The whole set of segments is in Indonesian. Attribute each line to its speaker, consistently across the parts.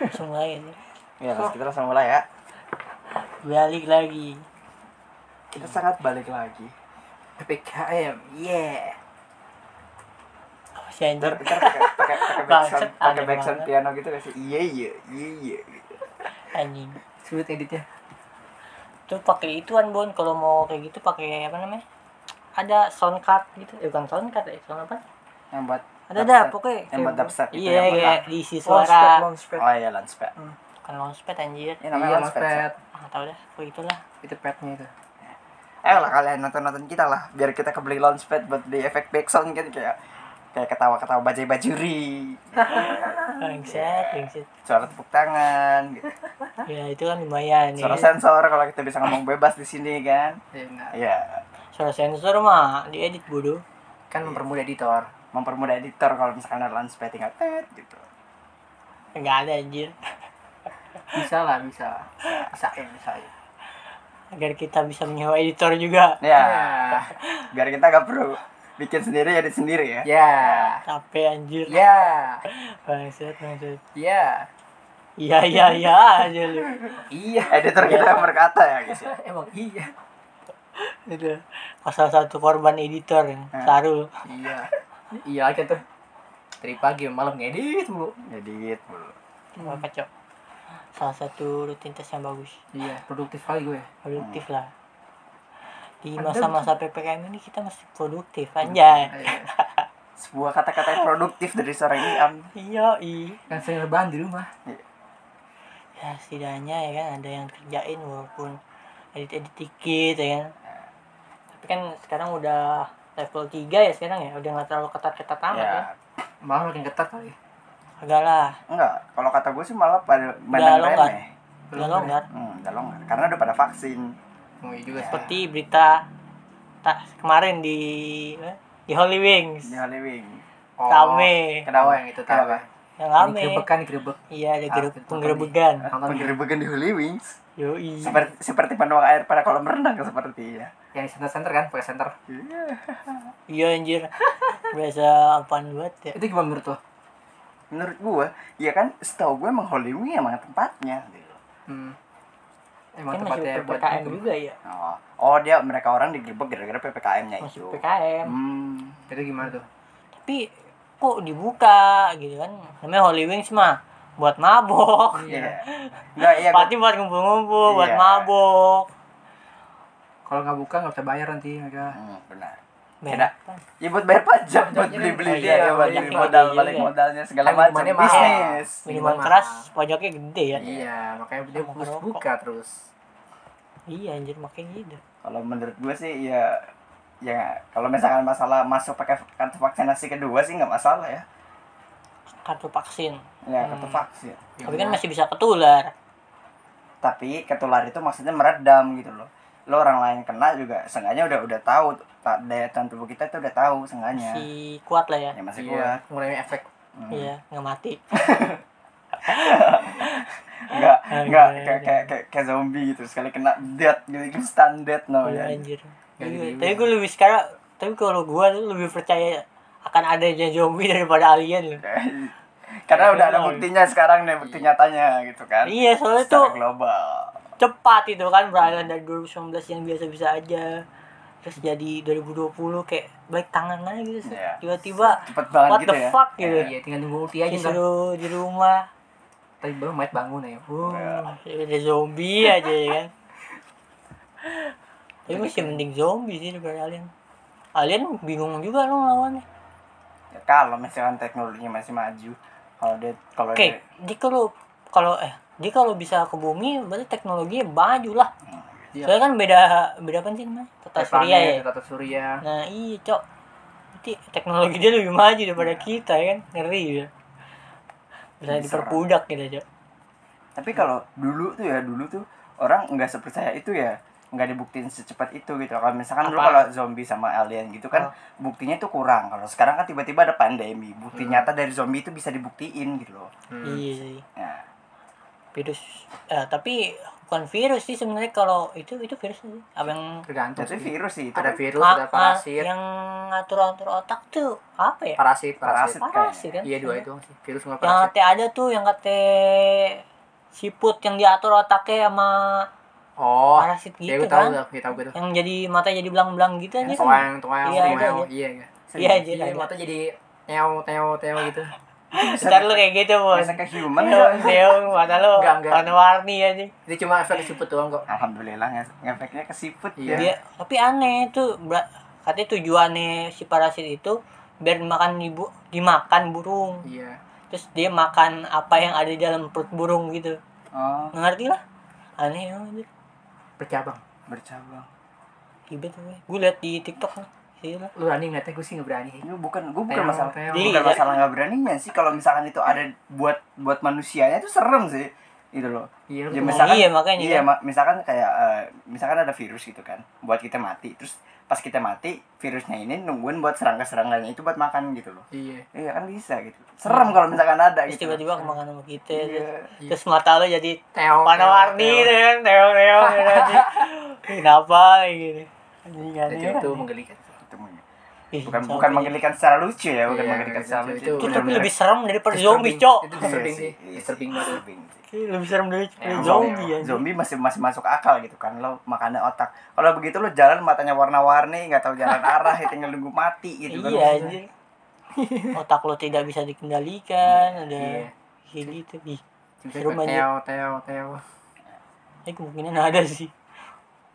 Speaker 1: langsung mulai aja.
Speaker 2: Ya, terus kita langsung mulai ya.
Speaker 1: Balik lagi.
Speaker 2: Kita sangat balik lagi. PPKM, yeah.
Speaker 1: Apa sih anjir?
Speaker 2: Ntar, ntar pakai pakai pakai backsound,
Speaker 1: Bangsat,
Speaker 2: pakai
Speaker 1: aneh
Speaker 2: backsound
Speaker 1: banget.
Speaker 2: piano gitu gak sih? Iya, iya, iya, iya.
Speaker 1: Anjing.
Speaker 2: Sebut editnya.
Speaker 1: Tuh pakai ituan Bon kalau mau kayak gitu pakai apa namanya? Ada sound card gitu. Eh, bukan sound card ya, sound apa?
Speaker 2: Yang buat
Speaker 1: Ada dah
Speaker 2: dubstep.
Speaker 1: pokoknya.
Speaker 2: Yang buat dubstep itu
Speaker 1: Iya,
Speaker 2: yang
Speaker 1: iya,
Speaker 2: kotak.
Speaker 1: diisi
Speaker 3: Launchpad,
Speaker 1: suara.
Speaker 3: launchpad.
Speaker 2: Oh iya, launchpad.
Speaker 1: Bukan launchpad anjir.
Speaker 2: Ini
Speaker 3: Iya,
Speaker 2: namanya launchpad.
Speaker 3: launchpad.
Speaker 1: Ah, tahu dah, kayak itulah.
Speaker 3: Itu padnya itu.
Speaker 2: Ayo lah kalian nonton-nonton kita lah, biar kita kebeli launchpad buat beli efek backsound kan kayak kayak ketawa-ketawa bajai-bajuri, Ah, iya.
Speaker 1: Bangsat, bangsat.
Speaker 2: suara tepuk tangan, gitu.
Speaker 1: Ya, itu kan lumayan ya.
Speaker 2: suara sensor kalau kita bisa ngomong bebas di sini kan.
Speaker 3: Iya, benar.
Speaker 2: Iya.
Speaker 1: Suara sensor mah diedit bodoh.
Speaker 3: Kan mempermudah editor.
Speaker 2: mempermudah editor kalau misalkan ada launchpad tinggal tet gitu
Speaker 1: Enggak ada anjir.
Speaker 3: Bisa lah, bisa. Bisa ya, bisa ya.
Speaker 1: Agar kita bisa menyewa editor juga.
Speaker 2: ya
Speaker 3: Ya.
Speaker 2: biar kita gak perlu bikin sendiri edit sendiri ya
Speaker 3: Ya.
Speaker 1: Capek anjir.
Speaker 2: Iya.
Speaker 3: Ya.
Speaker 1: Bangsat, bangsat.
Speaker 3: Ya.
Speaker 1: Iya, iya, iya aja lu.
Speaker 3: Iya.
Speaker 2: editor kita yang berkata ya guys ya.
Speaker 3: Emang iya.
Speaker 1: Itu salah satu korban editor Saru.
Speaker 3: Iya. Iya aja tuh. Dari pagi sampai malam ngedit mulu.
Speaker 2: edit mulu
Speaker 1: Apa cok? Salah satu rutinitas yang bagus.
Speaker 3: Iya, produktif kali gue.
Speaker 1: Produktif lah. Di masa-masa PPKM ini kita masih produktif anjay.
Speaker 3: Iya.
Speaker 2: sebuah kata-kata yang produktif dari seorang Iam
Speaker 1: Iya, i.
Speaker 3: Kan sering rebahan di rumah.
Speaker 1: Ya setidaknya ya kan ada yang kerjain walaupun edit-edit dikit ya kan. Tapi kan sekarang udah level 3 ya sekarang ya udah nggak terlalu ketat-ketat amat ya.
Speaker 2: ya
Speaker 3: Malah makin ketat kali.
Speaker 1: Agak lah,
Speaker 2: enggak kalau kata gue sih malah pada main
Speaker 1: longgar.
Speaker 2: remeh
Speaker 3: kan,
Speaker 1: udah
Speaker 3: ya.
Speaker 1: longgar.
Speaker 2: hmm, udah longgar karena udah pada vaksin
Speaker 3: Oh, iya juga sih.
Speaker 1: Seperti berita tak kemarin di eh, di Holy Wings.
Speaker 2: di Halloween
Speaker 3: Oh,
Speaker 1: rame
Speaker 3: Kenapa yang itu tahu
Speaker 2: Kenapa?
Speaker 3: ya?
Speaker 1: yang
Speaker 3: Ini
Speaker 1: rame
Speaker 3: gerebekan, gerebek.
Speaker 1: iya ada gerub
Speaker 3: Ah, itu
Speaker 1: penggerebegan
Speaker 3: Nonton di-
Speaker 2: penggerbegan di Halloween
Speaker 1: yoi
Speaker 2: seperti seperti penuang air pada kolam renang seperti ya
Speaker 3: yang di center-center kan, pakai center.
Speaker 1: iya anjir biasa apaan buat ya
Speaker 3: Itu gimana menurut lo?
Speaker 2: menurut gue ya kan setahu gue emang Halloween emang tempatnya gitu.
Speaker 3: Hmm.
Speaker 1: kan
Speaker 3: Emang tempatnya
Speaker 1: masih
Speaker 3: buat gitu.
Speaker 1: ppkm
Speaker 3: itu.
Speaker 1: juga ya
Speaker 2: Oh, oh dia mereka orang digerebek gara-gara PPKM-nya
Speaker 1: masih
Speaker 2: itu.
Speaker 1: ppkm
Speaker 2: Hmm.
Speaker 3: Jadi gimana tuh?
Speaker 1: tapi kok dibuka gitu kan namanya Holy Wings mah buat mabok
Speaker 2: Iya. Enggak, iya.
Speaker 1: pasti buat ngumpul-ngumpul buat
Speaker 2: Iya.
Speaker 1: mabok
Speaker 3: Kalau nggak buka nggak bisa bayar nanti mereka.
Speaker 2: Hmm, benar.
Speaker 1: Beda.
Speaker 2: Ya buat bayar pajak, buat
Speaker 3: Pajaknya
Speaker 2: beli-beli
Speaker 3: kan-
Speaker 2: dia,
Speaker 3: iya,
Speaker 2: ya, buat
Speaker 3: iya,
Speaker 2: beli
Speaker 1: iya,
Speaker 2: modal,
Speaker 1: iya,
Speaker 2: balik
Speaker 1: iya.
Speaker 2: modalnya segala
Speaker 3: Kan
Speaker 2: macam
Speaker 3: minumannya mahal.
Speaker 2: bisnis.
Speaker 1: minuman
Speaker 3: Minuman
Speaker 1: keras pajaknya gede ya
Speaker 3: Iya, makanya dia fokus
Speaker 1: Ngerokok.
Speaker 3: buka terus.
Speaker 1: iya anjir makanya gitu
Speaker 2: Kalau menurut gue sih ya ya kalau misalkan masalah masuk pakai kartu vaksinasi kedua sih nggak masalah ya.
Speaker 1: kartu vaksin
Speaker 2: Ya
Speaker 1: Hmm.
Speaker 2: kartu vaksin.
Speaker 3: Ya
Speaker 1: tapi kan
Speaker 3: udah.
Speaker 1: masih bisa ketular
Speaker 2: Tapi ketular itu maksudnya meredam gitu loh. Lo orang lain kena juga sengaja udah udah tahu ta- daya tahan tubuh kita itu udah tahu sengaja.
Speaker 1: si kuat lah ya
Speaker 2: Ya masih
Speaker 3: iya,
Speaker 2: kuat.
Speaker 3: mengurangi efek.
Speaker 2: Hmm.
Speaker 1: iya nggak mati
Speaker 2: Enggak,
Speaker 1: Ah,
Speaker 2: enggak
Speaker 1: iya,
Speaker 2: kayak
Speaker 1: iya.
Speaker 2: kayak kayak kayak zombie gitu sekali kena dead gitu instant dead
Speaker 1: Iya,
Speaker 2: namanya.
Speaker 1: anjir.
Speaker 3: Gak
Speaker 1: Iya,
Speaker 3: jadi
Speaker 1: tapi
Speaker 3: juga.
Speaker 1: gue lebih sekarang, tapi kalau gue tuh lebih percaya akan adanya zombie daripada alien. loh.
Speaker 2: Karena
Speaker 1: Iya,
Speaker 2: udah ada
Speaker 1: iya.
Speaker 2: buktinya sekarang nih, bukti nyatanya gitu kan.
Speaker 1: Iya, soalnya
Speaker 2: Secara
Speaker 1: tuh
Speaker 2: global.
Speaker 1: cepat itu kan beralihan dari 2019 yang biasa-biasa aja. Terus jadi 2020 kayak balik tangan aja gitu. set.
Speaker 2: Iya.
Speaker 1: Tiba-tiba
Speaker 2: Cepet banget
Speaker 1: what
Speaker 2: gitu
Speaker 1: the
Speaker 2: ya.
Speaker 1: fuck gitu.
Speaker 3: Iya, tinggal nunggu ulti aja ntar.
Speaker 1: Disuruh di rumah.
Speaker 3: Tapi baru mayat bangun ya. Wuh.
Speaker 2: Iya.
Speaker 1: Ada zombie aja ya kan. Tapi masih mending zombie sih daripada alien. Alien bingung juga lo ngelawannya.
Speaker 2: Ya, kalau misalkan teknologinya masih maju, kalau dia kalau
Speaker 1: Oke,
Speaker 2: dia-
Speaker 1: dia kalau kalau eh dia kalau bisa ke bumi berarti teknologinya maju lah.
Speaker 3: Iya.
Speaker 1: Soalnya kan beda beda apa sih namanya? Tata
Speaker 3: Kayak
Speaker 1: surya
Speaker 3: planet, gitu.
Speaker 1: ya.
Speaker 3: Tata surya.
Speaker 1: Nah, iya, Cok. Berarti teknologi dia lebih maju
Speaker 3: Iya.
Speaker 1: daripada kita ya kan. Ngeri ya. Bisa
Speaker 2: Bisa.
Speaker 1: diperbudak gitu, Cok.
Speaker 2: Tapi kalau dulu tuh ya, dulu tuh orang nggak sepercaya itu ya nggak dibuktiin secepat itu gitu kalau misalkan dulu
Speaker 1: Apa?
Speaker 2: kalau zombie sama alien gitu kan buktinya tuh kurang kalau sekarang kan
Speaker 1: Hmm.
Speaker 2: tiba-tiba ada pandemi bukti nyata dari zombie itu bisa dibuktiin gitu loh
Speaker 3: Hmm.
Speaker 1: Iya sih.
Speaker 2: Nah,
Speaker 1: virus eh, tapi bukan virus sih sebenarnya kalau itu itu virus sih apa yang
Speaker 3: tergantung
Speaker 2: Jadi
Speaker 3: sih.
Speaker 2: virus sih itu
Speaker 3: ada
Speaker 2: kan
Speaker 3: virus
Speaker 1: Ah,
Speaker 3: ada
Speaker 1: ah,
Speaker 3: parasit
Speaker 1: yang ngatur ngatur otak tuh apa ya
Speaker 3: parasit
Speaker 2: parasit
Speaker 3: parasit
Speaker 1: parasit Ya. kan
Speaker 3: iya dua itu sih virus sama
Speaker 1: yang
Speaker 3: parasit
Speaker 1: kata ada tuh yang kata siput yang diatur otaknya sama
Speaker 3: oh
Speaker 1: parasit
Speaker 3: ya
Speaker 1: gitu
Speaker 3: gue tahu
Speaker 1: kan
Speaker 3: gue tahu gue tahu
Speaker 1: yang jadi mata jadi belang-belang gitu aja kan
Speaker 3: toang toang
Speaker 1: Iya, itu
Speaker 3: toang
Speaker 1: aja.
Speaker 3: iya iya
Speaker 1: iya aja
Speaker 3: Iya,
Speaker 1: ada.
Speaker 3: mata jadi teo teo teo gitu
Speaker 1: ntar lu kayak gitu bos
Speaker 2: bisa ke human ya.
Speaker 1: Deung, Deung, mata lu
Speaker 3: Enggak, Iya. enggak.
Speaker 1: warna-warni aja
Speaker 3: itu cuma efek siput doang kok
Speaker 2: alhamdulillah nge- ngefeknya ke siput
Speaker 3: Iya.
Speaker 2: ya
Speaker 1: dia tapi aneh tuh bra- katanya tujuannya si parasit itu biar dimakan ibu dimakan burung
Speaker 3: iya
Speaker 1: terus dia makan apa yang ada di dalam perut burung gitu
Speaker 2: oh
Speaker 1: Nggak ngerti lah aneh banget
Speaker 3: bercabang
Speaker 2: bercabang
Speaker 1: ribet gue gue liat di tiktok lah Iya lah.
Speaker 3: lu berani ngeliatnya gue sih nggak berani
Speaker 2: ini bukan gue bukan
Speaker 3: Teo,
Speaker 2: masalah
Speaker 3: teo.
Speaker 2: bukan
Speaker 1: Iya.
Speaker 2: masalah nggak beraninya sih kalau misalkan itu ada buat buat manusianya itu serem sih gitu loh Ya,
Speaker 3: iya lu
Speaker 1: misalnya-
Speaker 2: misalkan,
Speaker 1: iya, makanya
Speaker 2: iya,
Speaker 1: kan.
Speaker 2: ma- misalkan kayak eh, misalkan ada virus gitu kan buat kita mati terus pas kita mati virusnya ini nungguin buat serangga-serangganya itu buat makan gitu loh
Speaker 3: iya
Speaker 2: iya kan bisa gitu serem kalau misalkan ada
Speaker 1: terus
Speaker 2: gitu
Speaker 1: tiba-tiba kemakan sama kita terus-
Speaker 2: Iya.
Speaker 1: terus mata lu jadi
Speaker 3: teo
Speaker 1: warna-warni
Speaker 3: teo, teo.
Speaker 1: deh kan teo teo gitu aja. kenapa gitu
Speaker 3: itu itu menggelikan
Speaker 2: Ketemunya.
Speaker 1: Ih,
Speaker 2: ya. bukan
Speaker 1: zombie.
Speaker 2: bukan Iya, menggelikan secara lucu ya bukan
Speaker 3: Iya,
Speaker 2: menggelikan secara
Speaker 3: itu-
Speaker 2: lucu
Speaker 3: itu
Speaker 1: Iya. itu tapi
Speaker 3: benar-benar.
Speaker 1: lebih serem daripada
Speaker 3: Disturbing.
Speaker 1: zombie cok
Speaker 3: itu
Speaker 2: Iya
Speaker 3: disturbing sih
Speaker 2: iya
Speaker 3: disturbing banget
Speaker 2: disturbing sih.
Speaker 1: Iya, lebih serem daripada
Speaker 3: Emang,
Speaker 1: zombie
Speaker 3: emang.
Speaker 1: aja.
Speaker 2: Iya, zombie masih masih masuk akal gitu kan lo makannya otak kalau begitu lo jalan matanya warna-warni nggak tahu jalan arah ya tinggal nunggu mati gitu kan
Speaker 1: iya aja otak lo tidak bisa dikendalikan ada
Speaker 3: iya
Speaker 1: kayak gitu ih
Speaker 3: Seru
Speaker 1: Serem aja.
Speaker 3: Teo, teo, teo.
Speaker 1: ini kemungkinan ada sih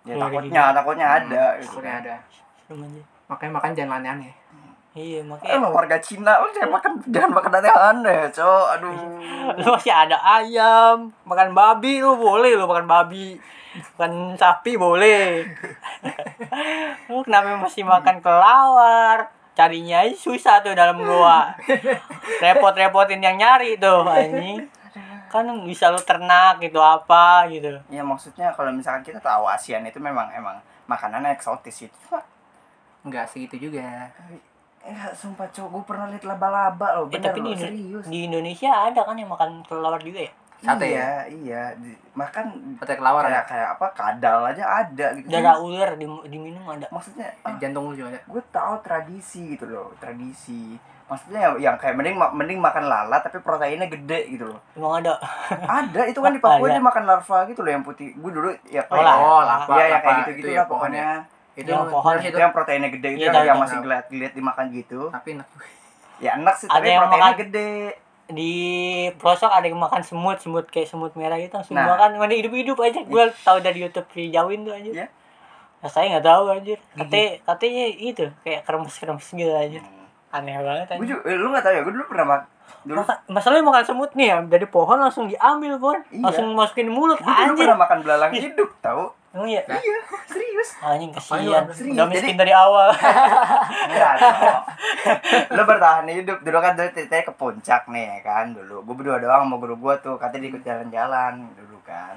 Speaker 2: ya, takutnya takutnya ada gitu
Speaker 3: Hmm, Takutnya
Speaker 2: kan.
Speaker 3: ada.
Speaker 1: serem aja
Speaker 3: Makanya makan jangan ya. aneh-aneh.
Speaker 1: iya
Speaker 2: Eh,
Speaker 1: makanya
Speaker 2: lo warga Cina, lo jangan makan jangan makan aneh aneh, cok. Aduh.
Speaker 1: lu masih ada ayam makan babi lu boleh lu makan babi makan sapi boleh lu kenapa masih makan kelawar carinya aja susah tuh dalam gua repot-repotin yang nyari tuh anjing kan bisa lu ternak gitu apa gitu
Speaker 2: Ya maksudnya kalau misalkan kita tahu ASEAN itu memang emang makanannya eksotis gitu. Cuma
Speaker 3: Enggak segitu juga.
Speaker 2: enggak ya, sumpah cok, gue pernah lihat laba-laba lo,
Speaker 1: Eh,
Speaker 2: bener
Speaker 1: tapi
Speaker 2: lo,
Speaker 1: di,
Speaker 2: serius.
Speaker 1: di Indonesia ada kan yang makan kelelawar juga ya
Speaker 3: Sate ya?
Speaker 2: iya, iya. Di- Makan
Speaker 3: Petai kelawar ada.
Speaker 1: Iya.
Speaker 2: kayak kayak apa kadal aja ada gitu.
Speaker 1: darah ular di, diminum ada
Speaker 2: Maksudnya ah,
Speaker 3: Eh, Jantung lu juga ada.
Speaker 2: gue tahu tradisi gitu loh, tradisi. Maksudnya yang kayak mending ma- mending makan lala tapi proteinnya gede gitu loh.
Speaker 1: emang ada
Speaker 2: Ada itu kan di Papua dia makan larva gitu loh yang putih. Gue dulu ya
Speaker 1: Ah, iya. Oh, lah.
Speaker 3: Oh, lapa,
Speaker 2: Iya, yang
Speaker 3: lapa.
Speaker 2: kayak gitu-gitu
Speaker 3: Itu
Speaker 2: lah
Speaker 3: ya, pohon ya.
Speaker 2: pokoknya.
Speaker 3: Itu
Speaker 1: Yang Iya, pohon.
Speaker 3: bener sih
Speaker 2: itu
Speaker 3: itu.
Speaker 2: yang proteinnya gede itu
Speaker 1: Iya,
Speaker 2: yang,
Speaker 1: tahu,
Speaker 2: yang
Speaker 1: tahu,
Speaker 2: masih
Speaker 3: tahu.
Speaker 2: dilihat dilihat dimakan gitu
Speaker 3: Tapi enak.
Speaker 2: ya enak sih tapi
Speaker 1: Ada yang
Speaker 2: proteinnya
Speaker 1: makan-
Speaker 2: gede
Speaker 1: di pelosok ada yang makan semut semut kayak semut merah gitu langsung
Speaker 2: Nah.
Speaker 1: makan mana hidup hidup aja gue tahu dari YouTube si Jawin tuh aja
Speaker 2: Iya.
Speaker 1: nah, saya nggak tahu anjir katanya katanya itu kayak kremes kremes gitu aja aneh banget
Speaker 2: gue
Speaker 1: anjir
Speaker 2: juga eh, lu nggak tahu ya gue dulu pernah mak dulu
Speaker 1: Masa, masalahnya makan semut nih ya dari pohon langsung diambil bon
Speaker 2: Iya.
Speaker 1: langsung masukin mulut
Speaker 2: gue dulu
Speaker 1: anjir
Speaker 2: pernah makan belalang
Speaker 1: Iya.
Speaker 2: hidup tahu
Speaker 1: emang iya
Speaker 3: Nah.
Speaker 2: iya serius
Speaker 1: anjing
Speaker 3: Apaan lu
Speaker 1: kasihan
Speaker 3: ambil
Speaker 2: serius?
Speaker 1: udah
Speaker 2: Jadi-
Speaker 1: miskin dari awal
Speaker 2: enggak Cok. oh. lu bertahan hidup dulu kan dulu ceritanya ke puncak nih ya kan dulu gue berdua doang sama guru gue tuh katanya
Speaker 3: Hmm.
Speaker 2: diikut jalan-jalan dulu kan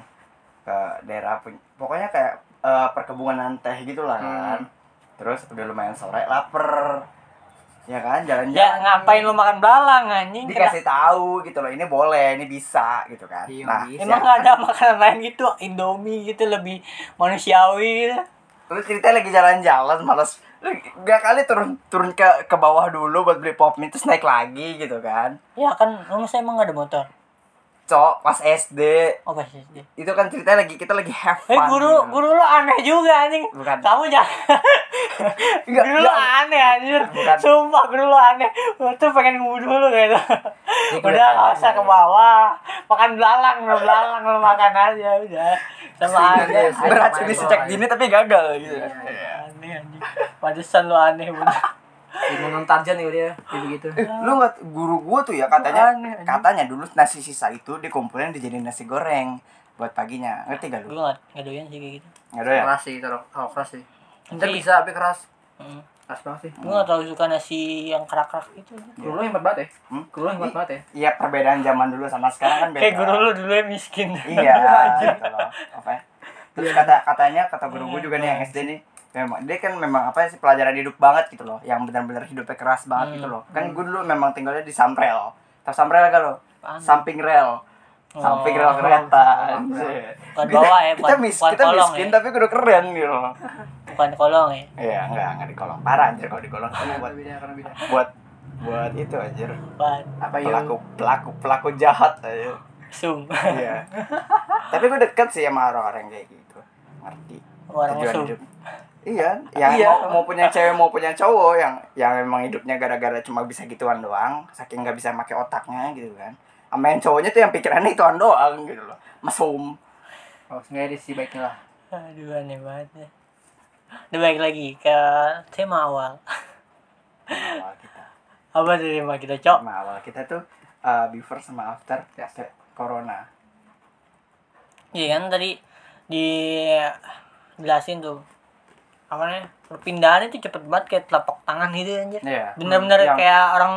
Speaker 2: ke daerah pun- pokoknya kayak eh, perkebunan teh gitu lah
Speaker 3: Hmm.
Speaker 2: kan terus udah lumayan sore lapar ya kan jalan-jalan
Speaker 1: ya ngapain lu makan belalang anjing Kena-
Speaker 2: dikasih tahu gitu loh ini boleh ini bisa gitu kan
Speaker 3: Iya,
Speaker 2: nah
Speaker 3: bisa.
Speaker 1: Emang nggak ada makanan lain gitu, Indomie gitu lebih manusiawi gitu.
Speaker 2: lu cerita lagi jalan-jalan malas lu gak kali turun turun ke ke bawah dulu buat beli pop mie terus naik lagi gitu kan
Speaker 1: Ya kan, lu masa emang nggak ada motor?
Speaker 2: cok pas SD
Speaker 1: Oh pasti. Eh
Speaker 2: itu kan cerita lagi kita lagi have fun
Speaker 1: guru,
Speaker 2: gitu.
Speaker 1: guru lu aneh juga anjing.
Speaker 2: Bukan.
Speaker 1: Kamu jangan.
Speaker 2: Enggak,
Speaker 1: guru lu
Speaker 2: enggak.
Speaker 1: aneh anjir.
Speaker 2: Bukan.
Speaker 1: Sumpah guru lu aneh. Gua tuh pengen ngebunuh lu gitu.
Speaker 3: guru
Speaker 1: udah
Speaker 3: aneh.
Speaker 1: nggak usah ke bawah. Makan belalang, lu belalang lu makan aja udah.
Speaker 2: Iya,
Speaker 1: Sama
Speaker 3: Kasihan
Speaker 1: aja.
Speaker 3: dia,
Speaker 1: aneh.
Speaker 2: beracun di sejak dini tapi gagal gitu
Speaker 3: Iya,
Speaker 2: Iya.
Speaker 1: Aneh anjing. Pantesan lu aneh bener.
Speaker 3: Minum tarjan ya dia. Jadi gitu.
Speaker 1: Iya.
Speaker 2: lu nggak guru gua tuh ya katanya
Speaker 1: Aneh, aneh.
Speaker 2: katanya dulu nasi sisa itu dikumpulin dijadiin nasi goreng buat paginya ngerti gak lu
Speaker 1: Gue nggak nggak doyan sih kayak gitu.
Speaker 2: nggak ya? doyan
Speaker 3: Keras sih, taruh. Oh, keras sih. Kita
Speaker 1: Tapi-
Speaker 3: bisa, tapi keras.
Speaker 1: Mm.
Speaker 3: Keras banget sih.
Speaker 2: Iya.
Speaker 1: Gue gak terlalu suka nasi yang kerak-kerak gitu.
Speaker 3: Guru lu hebat banget ya.
Speaker 2: Hmm?
Speaker 3: Guru lu hebat banget ya.
Speaker 2: Iya perbedaan zaman dulu sama sekarang kan beda.
Speaker 1: Kayak guru lu dulu yang miskin.
Speaker 2: Iya. gitu loh. Apa? Terus
Speaker 1: Iya.
Speaker 2: kata katanya kata guru gue juga nih yang SD nih memang dia kan memang apa sih pelajaran hidup banget gitu loh yang benar-benar hidupnya keras
Speaker 1: Hmm.
Speaker 2: banget gitu loh kan gue dulu memang tinggalnya di Samrel tau Samrel gak lo
Speaker 1: Apaan?
Speaker 2: samping rel sampai
Speaker 1: Oh.
Speaker 2: kereta kereta
Speaker 1: Bukan bawah ya,
Speaker 2: kita,
Speaker 1: bukan-
Speaker 2: mis-
Speaker 1: bukan
Speaker 2: kita
Speaker 1: kolong
Speaker 2: miskin
Speaker 1: ya.
Speaker 2: tapi kudu keren gitu
Speaker 1: bukan kolong ya
Speaker 2: iya enggak enggak di kolong parah anjir kalau di kolong kan buat
Speaker 3: beda karena beda
Speaker 2: buat buat itu anjir
Speaker 1: bukan
Speaker 3: apa yuk
Speaker 2: pelaku pelaku pelaku jahat aja
Speaker 1: sum
Speaker 2: iya tapi gue deket sih sama orang-orang kayak gitu ngerti
Speaker 1: orang
Speaker 2: tujuan
Speaker 1: sum
Speaker 2: hidup iya yang
Speaker 3: Iya.
Speaker 2: mau maupun yang cewek maupun yang cowok yang yang memang hidupnya gara-gara cuma bisa gituan doang saking nggak bisa pakai otaknya gitu kan sama yang cowoknya tuh yang pikirannya ituan doang gitu loh mesum
Speaker 3: oh sebenarnya ada sisi baiknya lah
Speaker 1: aduh aneh banget ya udah balik lagi ke tema awal
Speaker 2: Sama awal kita
Speaker 1: apa tuh tema kita cok
Speaker 2: Sama awal kita tuh uh, before sama after ya,
Speaker 3: Yes.
Speaker 2: corona
Speaker 1: Iya kan tadi di jelasin tuh apa namanya perpindahan itu cepet banget kayak telapak tangan gitu anjir
Speaker 2: Iya.
Speaker 1: bener-bener
Speaker 2: Yang-
Speaker 1: kayak orang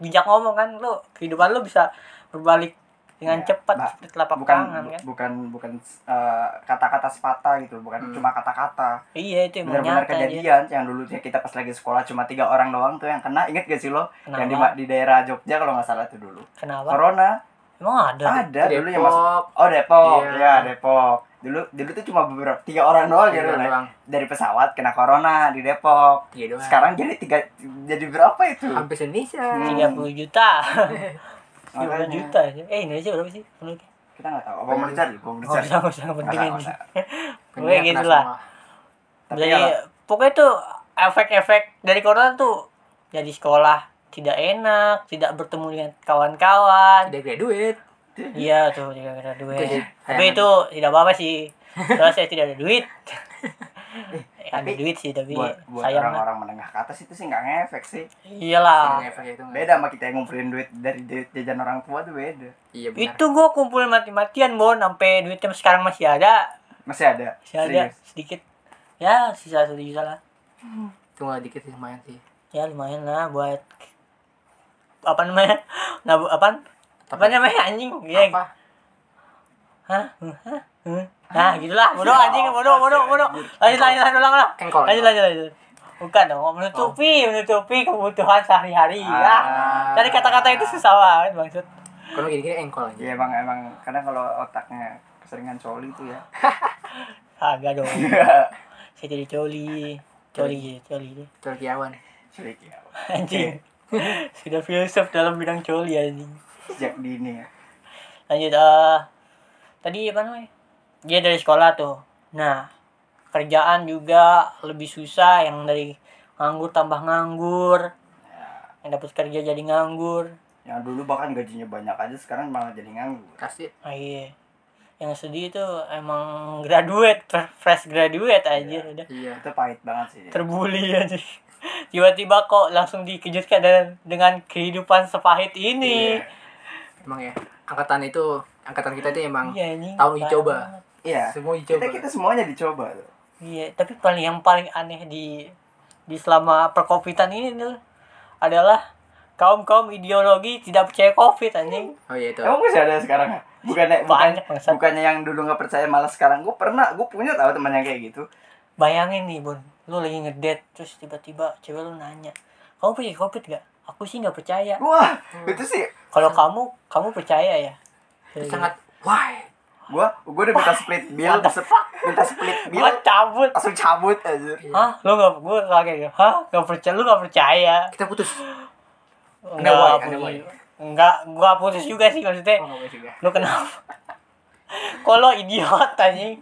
Speaker 1: bijak ngomong kan lu kehidupan lu bisa berbalik dengan
Speaker 2: Iya,
Speaker 1: cepat
Speaker 2: ba-
Speaker 1: seperti telapak
Speaker 2: bukan
Speaker 1: tangan kan
Speaker 2: bukan bukan uh, kata-kata sepatah gitu bukan
Speaker 3: Hmm.
Speaker 2: cuma kata-kata
Speaker 1: iya itu emang nyata
Speaker 2: benar-benar
Speaker 1: anjir.
Speaker 2: kejadian yang dulu ya kita pas lagi sekolah cuma tiga orang doang tuh yang kena inget gak sih lo yang di,
Speaker 1: Kenapa?
Speaker 2: di daerah Jogja kalau nggak salah tuh dulu
Speaker 1: kenapa
Speaker 2: corona
Speaker 1: emang ada
Speaker 2: ada dulu yang masuk
Speaker 3: Depok
Speaker 2: oh Depok
Speaker 3: Iya.
Speaker 2: ya Depok dulu dulu tuh cuma beberapa tiga orang doang gitu
Speaker 3: Iya,
Speaker 2: lah.
Speaker 3: doang.
Speaker 2: dari pesawat kena corona di Depok
Speaker 3: Iya doang.
Speaker 2: sekarang jadi tiga jadi berapa itu
Speaker 3: hampir Indonesia.
Speaker 2: Hmm.
Speaker 1: 30 juta 30
Speaker 2: Makanya.
Speaker 1: juta anjir. eh Indonesia berapa sih menurutnya
Speaker 2: kita nggak tahu apa mau dicari Apa mau
Speaker 1: nggak
Speaker 2: dicari
Speaker 1: usah nggak usah nggak
Speaker 2: Nggak
Speaker 1: penting ini
Speaker 2: usah, nggak usah.
Speaker 1: Pokoknya
Speaker 3: Kena
Speaker 1: gitu
Speaker 3: semua.
Speaker 1: lah.
Speaker 2: ya, tapi
Speaker 1: jadi
Speaker 2: ya
Speaker 1: pokoknya tuh efek-efek dari corona tuh jadi sekolah tidak enak, tidak bertemu dengan kawan-kawan.
Speaker 3: Tidak graduate.
Speaker 1: Iya tuh tidak ada duit.
Speaker 3: Itu sih,
Speaker 1: Tapi
Speaker 3: sayang.
Speaker 1: itu tidak apa-apa sih. Soalnya saya tidak ada duit. ada
Speaker 2: Eh, tapi
Speaker 1: duit sih tapi
Speaker 2: buat buat
Speaker 1: sayang lah.
Speaker 2: orang-orang menengah ke atas itu sih nggak ngefek sih
Speaker 3: Kena
Speaker 2: ya,
Speaker 1: Iyalah.
Speaker 3: efek Iya, itu nggak-
Speaker 2: Ah. beda sama kita yang ngumpulin duit dari duit jajan orang tua tuh beda
Speaker 3: Iya benar.
Speaker 1: Itu gua kumpulin mati-matian, Bon, sampai duitnya sekarang masih ada.
Speaker 2: masih ada
Speaker 1: Masih ada
Speaker 2: Serius.
Speaker 1: sedikit. Ya, sisa satu juta lah.
Speaker 3: Itu nggak dikit sih lumayan sih.
Speaker 1: Ya lumayan lah buat apa namanya? Nabu apa? Apa namanya anjing? Ya,
Speaker 3: Apa?
Speaker 1: Hah? Hah? Hah? Nah, gitulah. Bodoh
Speaker 2: Ya,
Speaker 1: anjing, bodoh,
Speaker 2: apa
Speaker 1: bodoh,
Speaker 2: sih,
Speaker 1: bodoh. Lanjut,
Speaker 2: anjing?
Speaker 1: lanjut, lanjut, ulang, ulang.
Speaker 3: Engkol.
Speaker 1: Lanjut, lanjut, lanjut. Bukan dong, menutupi, menutupi kebutuhan sehari-hari. Ya.
Speaker 2: Ah.
Speaker 1: Dari kata-kata itu susah banget, maksud.
Speaker 3: Kalau gini-gini engkol aja.
Speaker 2: Iya emang emang kadang kalau otaknya keseringan coli tuh ya.
Speaker 1: Agak dong. Saya jadi coli. Coli, coli.
Speaker 3: Kecuali kiawan.
Speaker 2: Coli ya.
Speaker 1: Anjing. Sudah filsuf dalam bidang coli anjing.
Speaker 2: Sejak dini ya.
Speaker 1: Lanjut, eh tadi apa namanya? Dia dari sekolah tuh. Nah, kerjaan juga lebih susah yang dari nganggur tambah nganggur. yang dapat kerja jadi nganggur
Speaker 2: Yang dulu bahkan gajinya banyak aja sekarang malah jadi nganggur.
Speaker 3: Kasih.
Speaker 1: ah, iya yang sedih itu emang graduate fre- fresh graduate aja udah
Speaker 3: Iya.
Speaker 2: Itu pahit banget sih.
Speaker 1: terbuli aja tiba-tiba kok langsung dikejutkan dengan, dengan kehidupan sepahit ini
Speaker 3: Emang ya. Angkatan itu angkatan kita itu emang
Speaker 1: iya ini
Speaker 3: Tahun dicoba.
Speaker 2: Iya.
Speaker 3: semua dicoba.
Speaker 2: Kita kita semuanya dicoba tuh.
Speaker 1: iya tapi paling yang paling aneh di di selama perkovitan ini tuh adalah kaum kaum ideologi tidak percaya covid anjing
Speaker 3: Oh iya itu.
Speaker 2: Emang masih ada sekarang? Bukannya bukan,
Speaker 1: Banyak, bangsat.
Speaker 2: bukannya yang dulu nggak percaya malah sekarang gue pernah gue punya tahu teman yang kayak gitu.
Speaker 1: bayangin nih bun lu lagi ngedate terus tiba-tiba cewek lu nanya kamu percaya covid gak aku sih nggak percaya
Speaker 2: Wah
Speaker 1: Hmm.
Speaker 2: itu sih
Speaker 1: Kalau kamu, kamu percaya ya?
Speaker 3: Itu sangat why.
Speaker 2: gue gue udah minta split bill,
Speaker 1: What the
Speaker 2: se- minta split bill
Speaker 1: gitu. Gua cabut.
Speaker 2: langsung cabut aja.
Speaker 1: Hah? Lu gak, gue kaget ya. Hah? Gak percaya, lu gak percaya.
Speaker 3: Kita putus.
Speaker 1: Enggak,
Speaker 3: why,
Speaker 1: putus.
Speaker 3: anda why.
Speaker 1: Enggak, gua putus juga sih maksudnya.
Speaker 3: Oh nggak boleh juga.
Speaker 1: Lu kenapa? Kalau idiot anjing.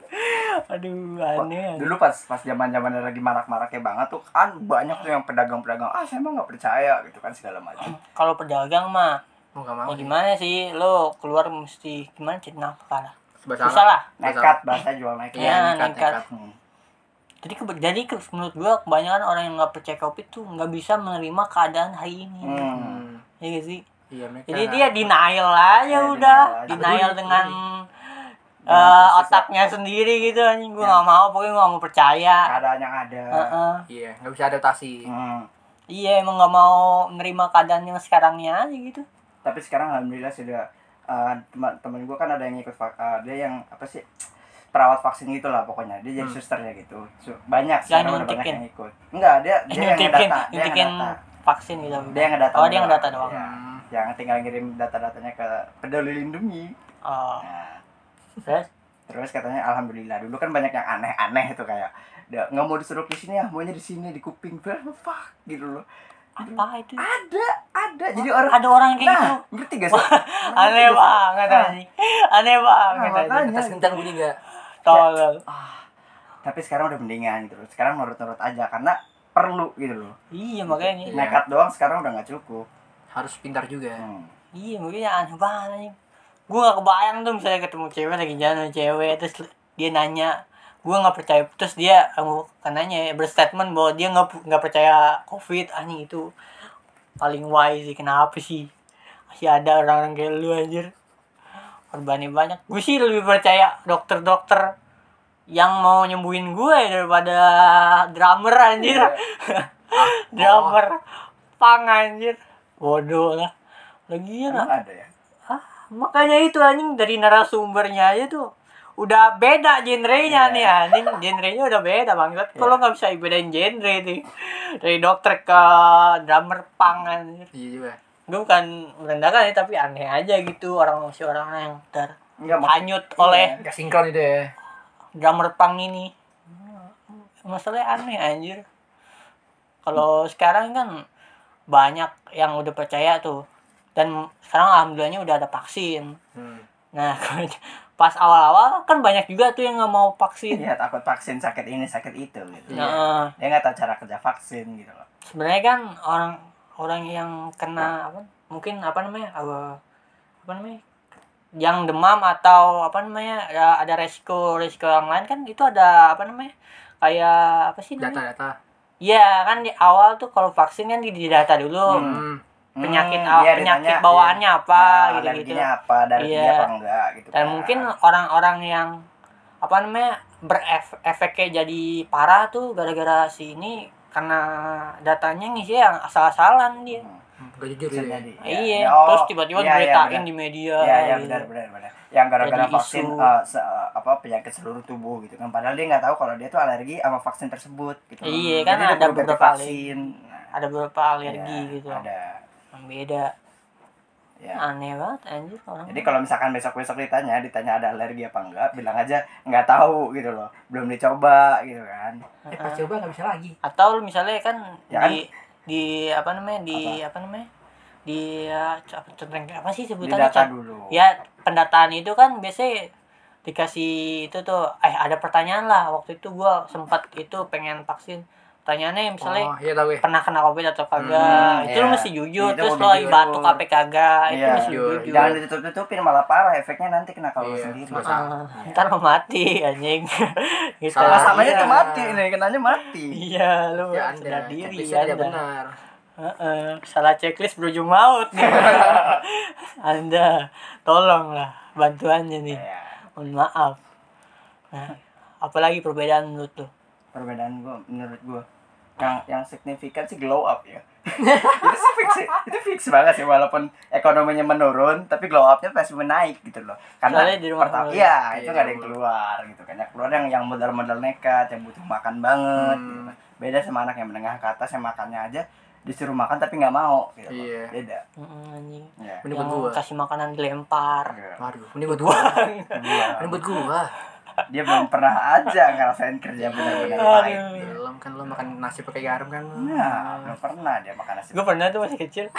Speaker 1: Aduh, aneh.
Speaker 2: dulu pas pas zaman zaman lagi marak-maraknya banget tuh kan banyak tuh yang pedagang-pedagang ah saya mah nggak percaya gitu kan segala macam
Speaker 1: Kalau pedagang mah,
Speaker 3: Mau nggak mau.
Speaker 1: ya gimana sih? Lu keluar mesti gimana cari nafkah lah. Susah
Speaker 3: Salah.
Speaker 1: lah.
Speaker 2: nekat bahasa jual nekat
Speaker 1: Iya, nekat.
Speaker 2: Hmm.
Speaker 1: Jadi, kebe- jadi ke- menurut gua kebanyakan orang yang nggak percaya covid tuh nggak bisa menerima keadaan hari ini.
Speaker 2: Hmm.
Speaker 3: Hmm.
Speaker 1: Ya gak sih?
Speaker 3: Iya mereka.
Speaker 1: Jadi dia denial aja
Speaker 2: Iya,
Speaker 1: udah,
Speaker 2: denial aja. iya.
Speaker 1: denial
Speaker 3: Tapi-
Speaker 1: dengan
Speaker 2: Dengan
Speaker 1: eh,
Speaker 2: sisa-
Speaker 1: otaknya sendiri gitu anjing gue
Speaker 2: Ya.
Speaker 1: nggak mau pokoknya gue nggak mau percaya.
Speaker 2: keadaan yang ada
Speaker 1: Heeh.
Speaker 3: Iya nggak bisa adaptasi.
Speaker 2: Hmm.
Speaker 1: Iya emang nggak mau menerima keadaan yang sekarangnya aja gitu.
Speaker 2: tapi sekarang alhamdulillah sudah eh, teman teman gue kan ada yang ikut vak- eh, dia yang apa sih perawat vaksin gitu lah pokoknya dia jadi
Speaker 3: Hmm.
Speaker 2: susternya gitu Su- banyak
Speaker 1: Jangan
Speaker 2: sekarang udah banyak
Speaker 1: nyuntikin.
Speaker 2: yang ikut enggak dia dia yang
Speaker 1: Nyuntikin,
Speaker 2: ngedata dia yang
Speaker 1: nyuntikin
Speaker 2: ngedata
Speaker 1: vaksin gitu.
Speaker 2: dia yang ngedata
Speaker 3: Hmm.
Speaker 1: Oh, dia ngedata doang.
Speaker 2: Iya. yang tinggal ngirim data-datanya ke peduli lindungi
Speaker 1: Oh.
Speaker 2: Nah,
Speaker 1: Terus?
Speaker 2: terus katanya alhamdulillah dulu kan banyak yang aneh-aneh tuh kayak "Da- nggak mau disuruh di sini ah maunya di sini di kuping Bah, fuck gitu loh
Speaker 1: Apa itu?
Speaker 2: ada ada jadi orang
Speaker 1: Ada orang kayak gitu.
Speaker 2: nah ngerti gak sih
Speaker 1: Aneh
Speaker 2: Ngerti gak sih?
Speaker 1: banget
Speaker 2: Ah.
Speaker 1: anjing. Aneh banget
Speaker 2: Nah,
Speaker 1: anjing.
Speaker 2: makanya.
Speaker 3: Kertas kencan bunyi nggak?
Speaker 1: Tolol.
Speaker 2: Ah, tapi sekarang udah mendingan gitu loh sekarang nurut-nurut aja karena perlu gitu loh
Speaker 1: Iya makanya.
Speaker 3: Iya.
Speaker 2: nekat doang sekarang udah nggak cukup
Speaker 3: Harus pintar juga.
Speaker 2: Hmm.
Speaker 1: Iya makanya aneh banget anjing. Gue gak kebayang tuh misalnya ketemu cewek lagi jalan sama cewek terus dia nanya gue nggak percaya terus dia kamu kan nanya ya, berstatement bahwa dia nggak pu- nggak percaya covid anjing itu paling wise sih kenapa sih masih ada orang-orang kayak lu anjir korbannya banyak gue sih lebih percaya dokter-dokter yang mau nyembuhin gue daripada drummer anjir
Speaker 2: Iya. Ah, oh.
Speaker 1: drummer pang anjir bodoh lah lagi
Speaker 2: Emang
Speaker 1: ya
Speaker 2: ada ya
Speaker 1: makanya itu anjing dari narasumbernya aja tuh udah beda genrenya
Speaker 2: Iya.
Speaker 1: nih anjing genrenya udah beda banget kalau nggak bisa bedain genre nih dari dokter ke drummer pang anjir
Speaker 3: Iya juga.
Speaker 1: gue bukan merendahkan ya tapi aneh aja gitu orang masih orang yang
Speaker 2: Enggak maksud-
Speaker 1: terhanyut oleh
Speaker 3: Gak sinkron itu ya.
Speaker 1: drummer pang ini masalahnya aneh anjir kalau sekarang kan banyak yang udah percaya tuh dan sekarang alhamdulillahnya udah ada vaksin
Speaker 3: Hmm.
Speaker 1: nah pas awal-awal kan banyak juga tuh yang nggak mau vaksin
Speaker 2: Iya takut vaksin sakit ini sakit itu gitu.
Speaker 3: Iya.
Speaker 1: nah
Speaker 2: Dia nggak tahu cara kerja vaksin gitu loh.
Speaker 1: sebenarnya kan orang orang yang kena apa mungkin apa namanya apa, apa namanya yang demam atau apa namanya ada, ada resiko resiko yang lain kan itu ada apa namanya kayak apa sih namanya
Speaker 3: Data-data.
Speaker 1: Iya kan di awal tuh kalau vaksin kan di, di data dulu
Speaker 2: Hmm.
Speaker 3: Hmm.
Speaker 1: penyakit
Speaker 2: Hmm,
Speaker 1: aw-
Speaker 2: iya,
Speaker 1: penyakit
Speaker 2: ditanya,
Speaker 1: bawaannya apa
Speaker 2: Nah,
Speaker 1: gitu-gitu.
Speaker 2: alerginya apa dari
Speaker 1: Iya.
Speaker 2: apa enggak gitu.
Speaker 1: Dan
Speaker 2: kan.
Speaker 1: mungkin orang-orang yang apa namanya berefeknya jadi parah tuh gara-gara si ini karena datanya ngisi yang asal-asalan dia.
Speaker 2: Hmm,
Speaker 3: Gak jujur
Speaker 2: bisa
Speaker 3: ya.
Speaker 2: jadi.
Speaker 1: Nah,
Speaker 2: Ya,
Speaker 1: iya,
Speaker 2: ya, oh,
Speaker 1: terus tiba-tiba
Speaker 2: iya, iya,
Speaker 1: diberitain
Speaker 2: benar.
Speaker 1: di media.
Speaker 2: Iya iya
Speaker 1: gitu.
Speaker 2: benar benar benar. Yang gara-gara
Speaker 1: Jadi
Speaker 2: vaksin
Speaker 1: isu.
Speaker 2: eh, se- eh, apa penyakit seluruh tubuh gitu kan. Padahal dia nggak tahu kalau dia tuh alergi sama vaksin tersebut gitu.
Speaker 1: Iya,
Speaker 2: Hmm,
Speaker 1: kan
Speaker 2: jadi dia
Speaker 1: ada
Speaker 2: perlu ganti
Speaker 1: beberapa
Speaker 2: vaksin. Nah,
Speaker 1: Ada beberapa alergi
Speaker 2: iya,
Speaker 1: gitu. Ah.
Speaker 2: Ada.
Speaker 1: Yang Beda.
Speaker 2: Ya.
Speaker 1: Aneh banget anjir orang.
Speaker 2: Jadi kalau misalkan besok-besok ditanya, ditanya ada alergi apa enggak, bilang aja nggak tahu gitu loh, belum dicoba gitu kan.
Speaker 3: Eh, pas coba gak bisa lagi.
Speaker 1: atau lu misalnya kan
Speaker 2: Ya kan?
Speaker 1: di di apa namanya di apa, namanya di ya, c- apa, centeng- apa sih
Speaker 2: Di
Speaker 1: sebutannya
Speaker 2: data
Speaker 1: Cen-
Speaker 2: dulu.
Speaker 1: ya pendataan itu kan biasanya dikasih itu tuh eh ada pertanyaan lah waktu itu gua sempat itu pengen vaksin pertanyaannya misalnya
Speaker 3: Oh, iya tau gue.
Speaker 1: pernah kena covid atau kagak
Speaker 2: Hmm,
Speaker 1: itu lu
Speaker 2: iya.
Speaker 1: mesti jujur
Speaker 2: Itu
Speaker 1: terus
Speaker 2: mau
Speaker 1: lo lagi
Speaker 2: jujur.
Speaker 1: batuk apa kagak itu
Speaker 2: Iya,
Speaker 1: mesti
Speaker 3: jujur.
Speaker 1: jujur,
Speaker 2: Jangan ditutup-tutupin malah parah efeknya nanti kena kalau lu
Speaker 3: Iya,
Speaker 2: sendiri.
Speaker 3: sama-sama.
Speaker 1: Ah, ntar lo mati anjing gitu
Speaker 3: Salah sama-
Speaker 2: Masalahnya
Speaker 3: Iya.
Speaker 2: tuh mati nih, kenanya mati.
Speaker 1: iya lu
Speaker 3: Ya
Speaker 1: sadar
Speaker 3: anda.
Speaker 1: diri
Speaker 3: Bisa
Speaker 1: Anda.
Speaker 3: tidak benar.
Speaker 1: Heeh, salah checklist berujung maut nih. Anda tolonglah bantuannya nih.
Speaker 2: Iya.
Speaker 1: Mohon maaf. Nah, apalagi perbedaan menurut lu?
Speaker 2: Perbedaan gua menurut gua yang yang signifikan sih glow up ya. itu sih fix sih. Itu fix banget sih walaupun ekonominya menurun, tapi glow up-nya pasti menaik gitu loh. Karena
Speaker 1: Soalnya di rumah
Speaker 2: pertama
Speaker 1: mulu.
Speaker 2: iya, itu
Speaker 3: Iya,
Speaker 2: nggak ada yang
Speaker 3: mulu.
Speaker 2: keluar gitu kan. Yang keluar yang yang modal-modal nekat, yang butuh makan banget
Speaker 3: Hmm.
Speaker 2: gitu kan. Beda sama anak yang menengah ke atas yang makannya aja disuruh makan tapi nggak mau gitu. loh.
Speaker 3: Iya.
Speaker 2: Beda.
Speaker 1: Mm, anjing.
Speaker 2: Iya.
Speaker 3: Mending
Speaker 1: Yang
Speaker 3: buat gua.
Speaker 1: kasih makanan dilempar.
Speaker 2: Iya.
Speaker 3: Waduh, mending buat gua.
Speaker 2: Iya.
Speaker 3: Mending buat gua.
Speaker 2: dia belum pernah aja ngerasain kerja benar-benar pahit.
Speaker 1: Aduh.
Speaker 3: Belum kan lo makan nasi pakai garam kan? lo.
Speaker 2: Nah, belum pernah dia makan nasi.
Speaker 1: Gue pernah tuh masih kecil.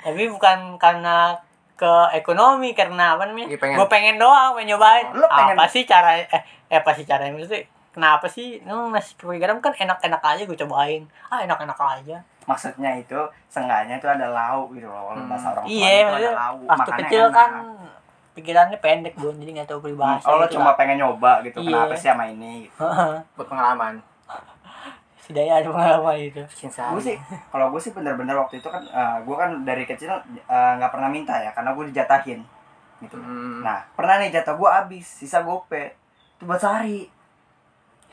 Speaker 1: Tapi bukan karena ke ekonomi karena apa namanya?
Speaker 3: Iya, pengen.
Speaker 1: Gue pengen doang pengen nyobain.
Speaker 2: Lu pengen-
Speaker 1: Apa sih cara eh, eh, apa sih caranya maksudnya? Kenapa sih? Hmm, nasi kue garam kan enak-enak aja gue cobain. Ah, enak-enak aja.
Speaker 2: Maksudnya itu seenggaknya itu ada lauk gitu loh. Kalau
Speaker 3: Hmm.
Speaker 2: bahasa orang tua
Speaker 1: Iya,
Speaker 2: itu ada
Speaker 1: maksudnya
Speaker 2: lauk.
Speaker 1: waktu
Speaker 2: makannya
Speaker 1: kecil
Speaker 2: enak.
Speaker 1: kan pikirannya pendek bun jadi nggak tahu
Speaker 2: Hmm,
Speaker 1: peribahasa
Speaker 2: Oh, lo
Speaker 1: gitu
Speaker 2: cuma pengen nyoba gitu.
Speaker 1: Iya.
Speaker 2: Kenapa sih sama ini?
Speaker 3: Buat pengalaman.
Speaker 1: setidaknya ada pengalaman itu
Speaker 3: Bikin
Speaker 1: Iya.
Speaker 2: Gue
Speaker 3: sehari.
Speaker 2: sih, kalau gue sih bener-bener waktu itu kan, gue kan dari kecil eh, nggak pernah minta ya, karena gue dijatahin gitu.
Speaker 3: Hmm.
Speaker 2: Nah, pernah nih jatah gue habis, sisa gope. Itu buat sehari.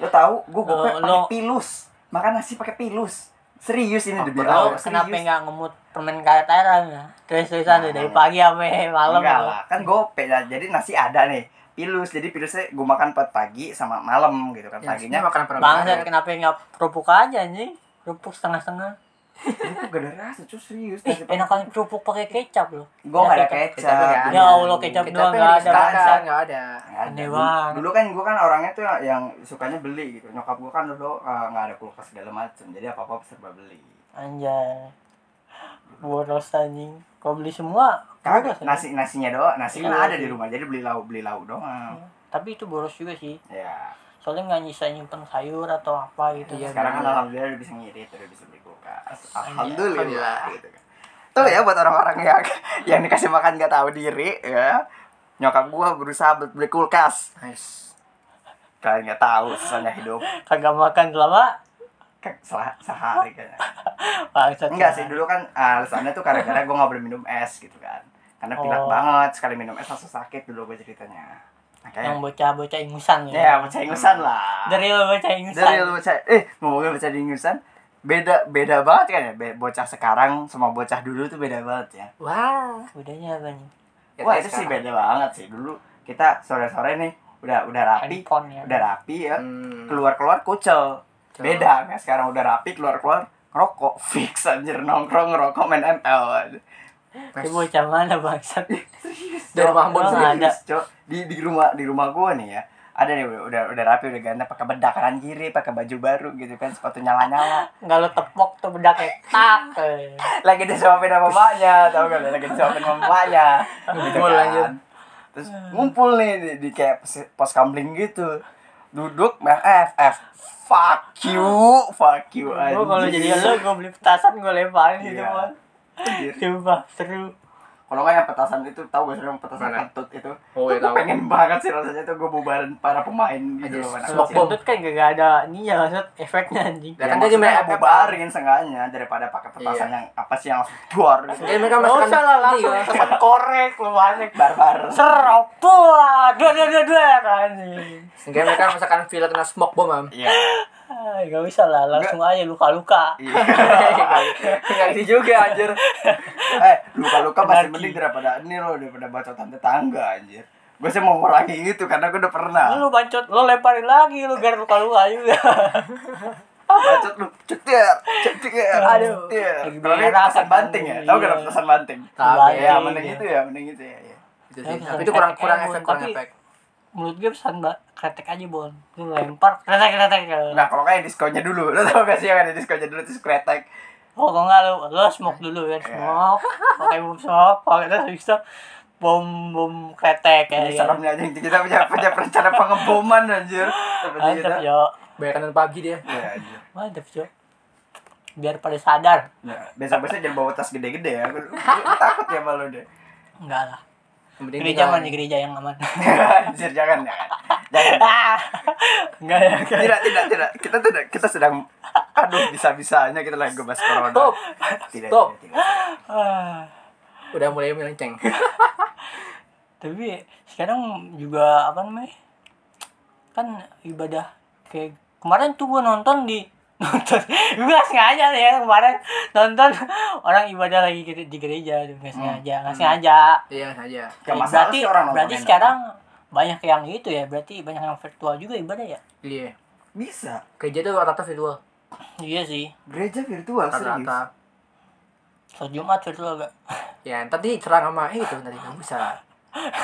Speaker 2: Lo tahu, gue gope
Speaker 1: Oh, Lo-
Speaker 2: pakai
Speaker 1: lo-
Speaker 2: pilus. Makan nasi pakai pilus. Serius ini
Speaker 3: Ah,
Speaker 2: demi
Speaker 1: Oh, Lo
Speaker 2: Allah.
Speaker 1: kenapa
Speaker 2: serius.
Speaker 1: nggak ngemut permen karet aja terus terusan
Speaker 2: Nah.
Speaker 1: dari pagi sampai malam
Speaker 2: Enggak lah, kan gope lah. Jadi nasi ada nih. Pilus, jadi pilusnya gue makan buat pagi sama malam gitu kan.
Speaker 3: Ya,
Speaker 1: Iya,
Speaker 2: Paginya
Speaker 3: sebenarnya makanan perempuan.
Speaker 1: bangsa kenapa nggak kerupuk aja anjing kerupuk setengah setengah
Speaker 2: itu gak ada rasa cuy serius
Speaker 1: Ih, Eh, enakan kerupuk pakai kecap loh.
Speaker 2: gue gak ada
Speaker 1: Kecap.
Speaker 2: kecap Iya.
Speaker 3: nggak
Speaker 1: Ya Allah,
Speaker 3: Kita
Speaker 1: kecap doang
Speaker 3: pengen
Speaker 1: nggak ada.
Speaker 2: disekat.
Speaker 3: ada. Enggak ada.
Speaker 2: Nggak ada.
Speaker 1: Aneh banget.
Speaker 2: Dulu kan gue kan orangnya tuh yang sukanya beli gitu. Nyokap gue kan dulu eh, nggak ada kulkas segala macem, jadi apa apa serba beli.
Speaker 1: Anjay. Boros anjing. Kau beli semua, boros.
Speaker 2: Kagak
Speaker 1: ya?
Speaker 2: nasi nasinya doang, nasi kan
Speaker 1: Iya,
Speaker 2: ada di
Speaker 1: sih. Hmm.
Speaker 2: rumah, jadi beli lauk beli lauk doang.
Speaker 1: Tapi itu boros juga sih.
Speaker 2: Ya,
Speaker 1: Soalnya nggak nyisa nyimpen sayur atau apa gitu.
Speaker 3: Iya,
Speaker 2: sekarang kan
Speaker 3: bener.
Speaker 2: alhamdulillah udah bisa ngirit, udah bisa beli kulkas. Alhamdulillah.
Speaker 3: Alhamdulillah.
Speaker 2: Gitu kan. Tuh ya buat orang-orang yang yang dikasih makan nggak tahu diri ya. Nyokap gue berusaha buat beli kulkas.
Speaker 3: Nice.
Speaker 2: Kalian nggak tahu susahnya hidup.
Speaker 1: Kagak makan selama
Speaker 2: Kayak sela- Sehari kayaknya.
Speaker 1: bangsat.
Speaker 2: Enggak sih, dulu kan alasannya tuh gara-gara gue gak boleh minum es gitu kan Karena pilek
Speaker 1: Oh.
Speaker 2: banget, sekali minum es langsung sakit dulu gue ceritanya Nah,
Speaker 1: Yang
Speaker 2: kayak
Speaker 1: bocah-bocah ingusan
Speaker 2: Ya,
Speaker 1: ya.
Speaker 2: bocah ingusan lah
Speaker 1: The real bocah ingusan.
Speaker 2: Dari lu bocah, eh ngomongin bocah di ingusan Beda, beda banget kan ya, Be- bocah sekarang sama bocah dulu tuh beda banget ya
Speaker 3: Wah. Ya,
Speaker 1: Bedanya apa nih?
Speaker 2: Wah itu sih beda banget sih, dulu kita sore-sore nih udah udah rapi
Speaker 1: Handphone ya.
Speaker 2: Udah rapi ya,
Speaker 3: Hmm.
Speaker 2: keluar-keluar kucel Beda, ya. sekarang udah rapi keluar-keluar ngerokok fix anjir nongkrong ngerokok main ML
Speaker 1: Itu bocah mana bangsat?
Speaker 3: Dari rumah Ambon
Speaker 1: Emang
Speaker 2: Serius,
Speaker 3: sendiri.
Speaker 1: ada.
Speaker 2: Cok. di di rumah di rumah gua nih ya ada nih udah udah, udah rapi udah ganda pakai bedak kanan kiri pakai baju baru gitu kan sepatu nyala nyala
Speaker 1: Nggak lo tepok tuh bedaknya. Tak. eh.
Speaker 2: lagi disuapin sama mamanya tau gak lu? lagi disuapin sama mamanya gitu
Speaker 3: Ngumpul, lanjut.
Speaker 2: kan terus ngumpul nih di, di kayak pos, pos kamling gitu duduk main FF fuck you fuck you
Speaker 3: Oh,
Speaker 1: Gue kalau
Speaker 2: anjing.
Speaker 1: jadi lo, gue beli petasan, gue lemparin gitu,
Speaker 2: Iya.
Speaker 1: Mon.
Speaker 2: Anjir.
Speaker 1: Coba, seru.
Speaker 2: kalau nggak yang petasan itu tahu gak sih yang petasan
Speaker 3: Mana?
Speaker 2: kentut itu
Speaker 3: Oh,
Speaker 2: Tuh
Speaker 3: iya,
Speaker 2: gua
Speaker 3: tahu.
Speaker 2: pengen banget sih rasanya tuh gue bubarin para pemain gitu
Speaker 3: Anjir,
Speaker 2: loh anak
Speaker 1: Kalau
Speaker 3: smoke
Speaker 2: kecil.
Speaker 3: bomb.
Speaker 1: kentut kan gak ada ininya, maksud efeknya anjing.
Speaker 3: Ya,
Speaker 2: Ya,
Speaker 3: kan
Speaker 2: maksudnya
Speaker 3: dia main
Speaker 2: ya,
Speaker 3: FF.
Speaker 2: bubarin seenggaknya daripada pakai petasan
Speaker 3: Iya.
Speaker 2: yang apa sih yang langsung duar gitu.
Speaker 3: Jadi mereka
Speaker 1: Gak
Speaker 3: masukkan
Speaker 1: usah lah
Speaker 3: ini
Speaker 1: langsung
Speaker 3: ya.
Speaker 1: tepat korek lu aneh.
Speaker 2: Barbar.
Speaker 1: Serok pula. Dua dua dua dua anjing.
Speaker 3: Sehingga mereka merasakan feel kena smoke bomb, Mam.
Speaker 2: Iya.
Speaker 1: Ay, Gak bisa lah, langsung aja luka-luka.
Speaker 3: Iya.
Speaker 2: Iya.
Speaker 3: Enggak gitu juga anjir.
Speaker 2: eh, luka-luka masih
Speaker 1: Anarki.
Speaker 2: mending daripada ini loh, daripada bacotan tetangga anjir. Gue sih mau ngurangi itu karena gue udah pernah.
Speaker 1: Lu bacot, lo lemparin lagi lu biar luka-luka juga.
Speaker 2: Bacot lu cetir, cetir.
Speaker 1: Aduh.
Speaker 2: cetir.
Speaker 1: Lagi
Speaker 2: Kalau ini
Speaker 1: berak,
Speaker 2: petasan
Speaker 1: kan.
Speaker 2: banting ya. Tahu gak
Speaker 1: Iya.
Speaker 2: ada petasan banting?
Speaker 3: Tahu,
Speaker 2: Ya,
Speaker 1: Banting,
Speaker 2: mending
Speaker 1: ya.
Speaker 2: itu ya, mending itu ya. iya.
Speaker 3: Gitu sih.
Speaker 1: Tapi
Speaker 3: Eh, Tapi itu kurang kurang
Speaker 1: efek,
Speaker 3: efek, kurang
Speaker 1: tapi-
Speaker 3: efek.
Speaker 1: Menurut gue pesan mbak, kretek aja bon. Lu lempar, kretek kretek.
Speaker 2: Nah, kalau kayak diskonnya dulu, lo tau gak sih yang ada diskonnya dulu terus kretek.
Speaker 1: Oh, kalau nggak lu, lu smoke dulu
Speaker 3: Iya.
Speaker 1: ya, smoke. Pakai bom smoke, pakai terus habis itu bom bom kretek ya.
Speaker 2: Ini seremnya anjing kita punya punya rencana pengeboman anjir. Seperti itu.
Speaker 3: ya.
Speaker 1: Mantap yo,
Speaker 3: Bayangkan PUBG dia.
Speaker 2: Iya, anjir.
Speaker 1: mantap yo. Biar pada sadar.
Speaker 2: Nah, besok-besok jangan bawa tas gede-gede ya. Gue takut ya malu deh.
Speaker 1: Enggak lah.
Speaker 3: Yang penting
Speaker 1: Gereja
Speaker 3: jangan-
Speaker 1: mana gereja yang aman.
Speaker 2: Anjir, jangan ya. Jangan.
Speaker 1: Ah. Enggak ya, enggak.
Speaker 2: Tidak, tidak, tidak. Kita tidak kita sedang aduh bisa-bisanya kita lagi ngebahas corona.
Speaker 3: Stop.
Speaker 2: Tidak,
Speaker 3: Stop.
Speaker 2: tidak, tidak.
Speaker 1: Ah.
Speaker 3: Udah mulai melenceng.
Speaker 1: tapi sekarang juga apa namanya kan ibadah kayak kemarin tuh gue nonton di nonton gue gak sengaja ya kemarin nonton orang ibadah lagi gere- di gereja tuh gak sengaja nggak sengaja
Speaker 3: Iya, aja.
Speaker 2: Ya,
Speaker 1: Eh,
Speaker 2: masalah
Speaker 1: berarti
Speaker 2: sih orang nontonin
Speaker 1: berarti
Speaker 2: apa.
Speaker 1: sekarang banyak yang itu ya berarti banyak yang virtual juga ibadah ya
Speaker 3: Iya.
Speaker 2: Bisa.
Speaker 3: Gereja tuh rata-rata virtual.
Speaker 1: iya sih
Speaker 2: Gereja virtual serius.
Speaker 3: Rata-rata.
Speaker 1: sholat jumat virtual gak
Speaker 3: Ya, tadi diserang sama eh, itu nanti nggak bisa.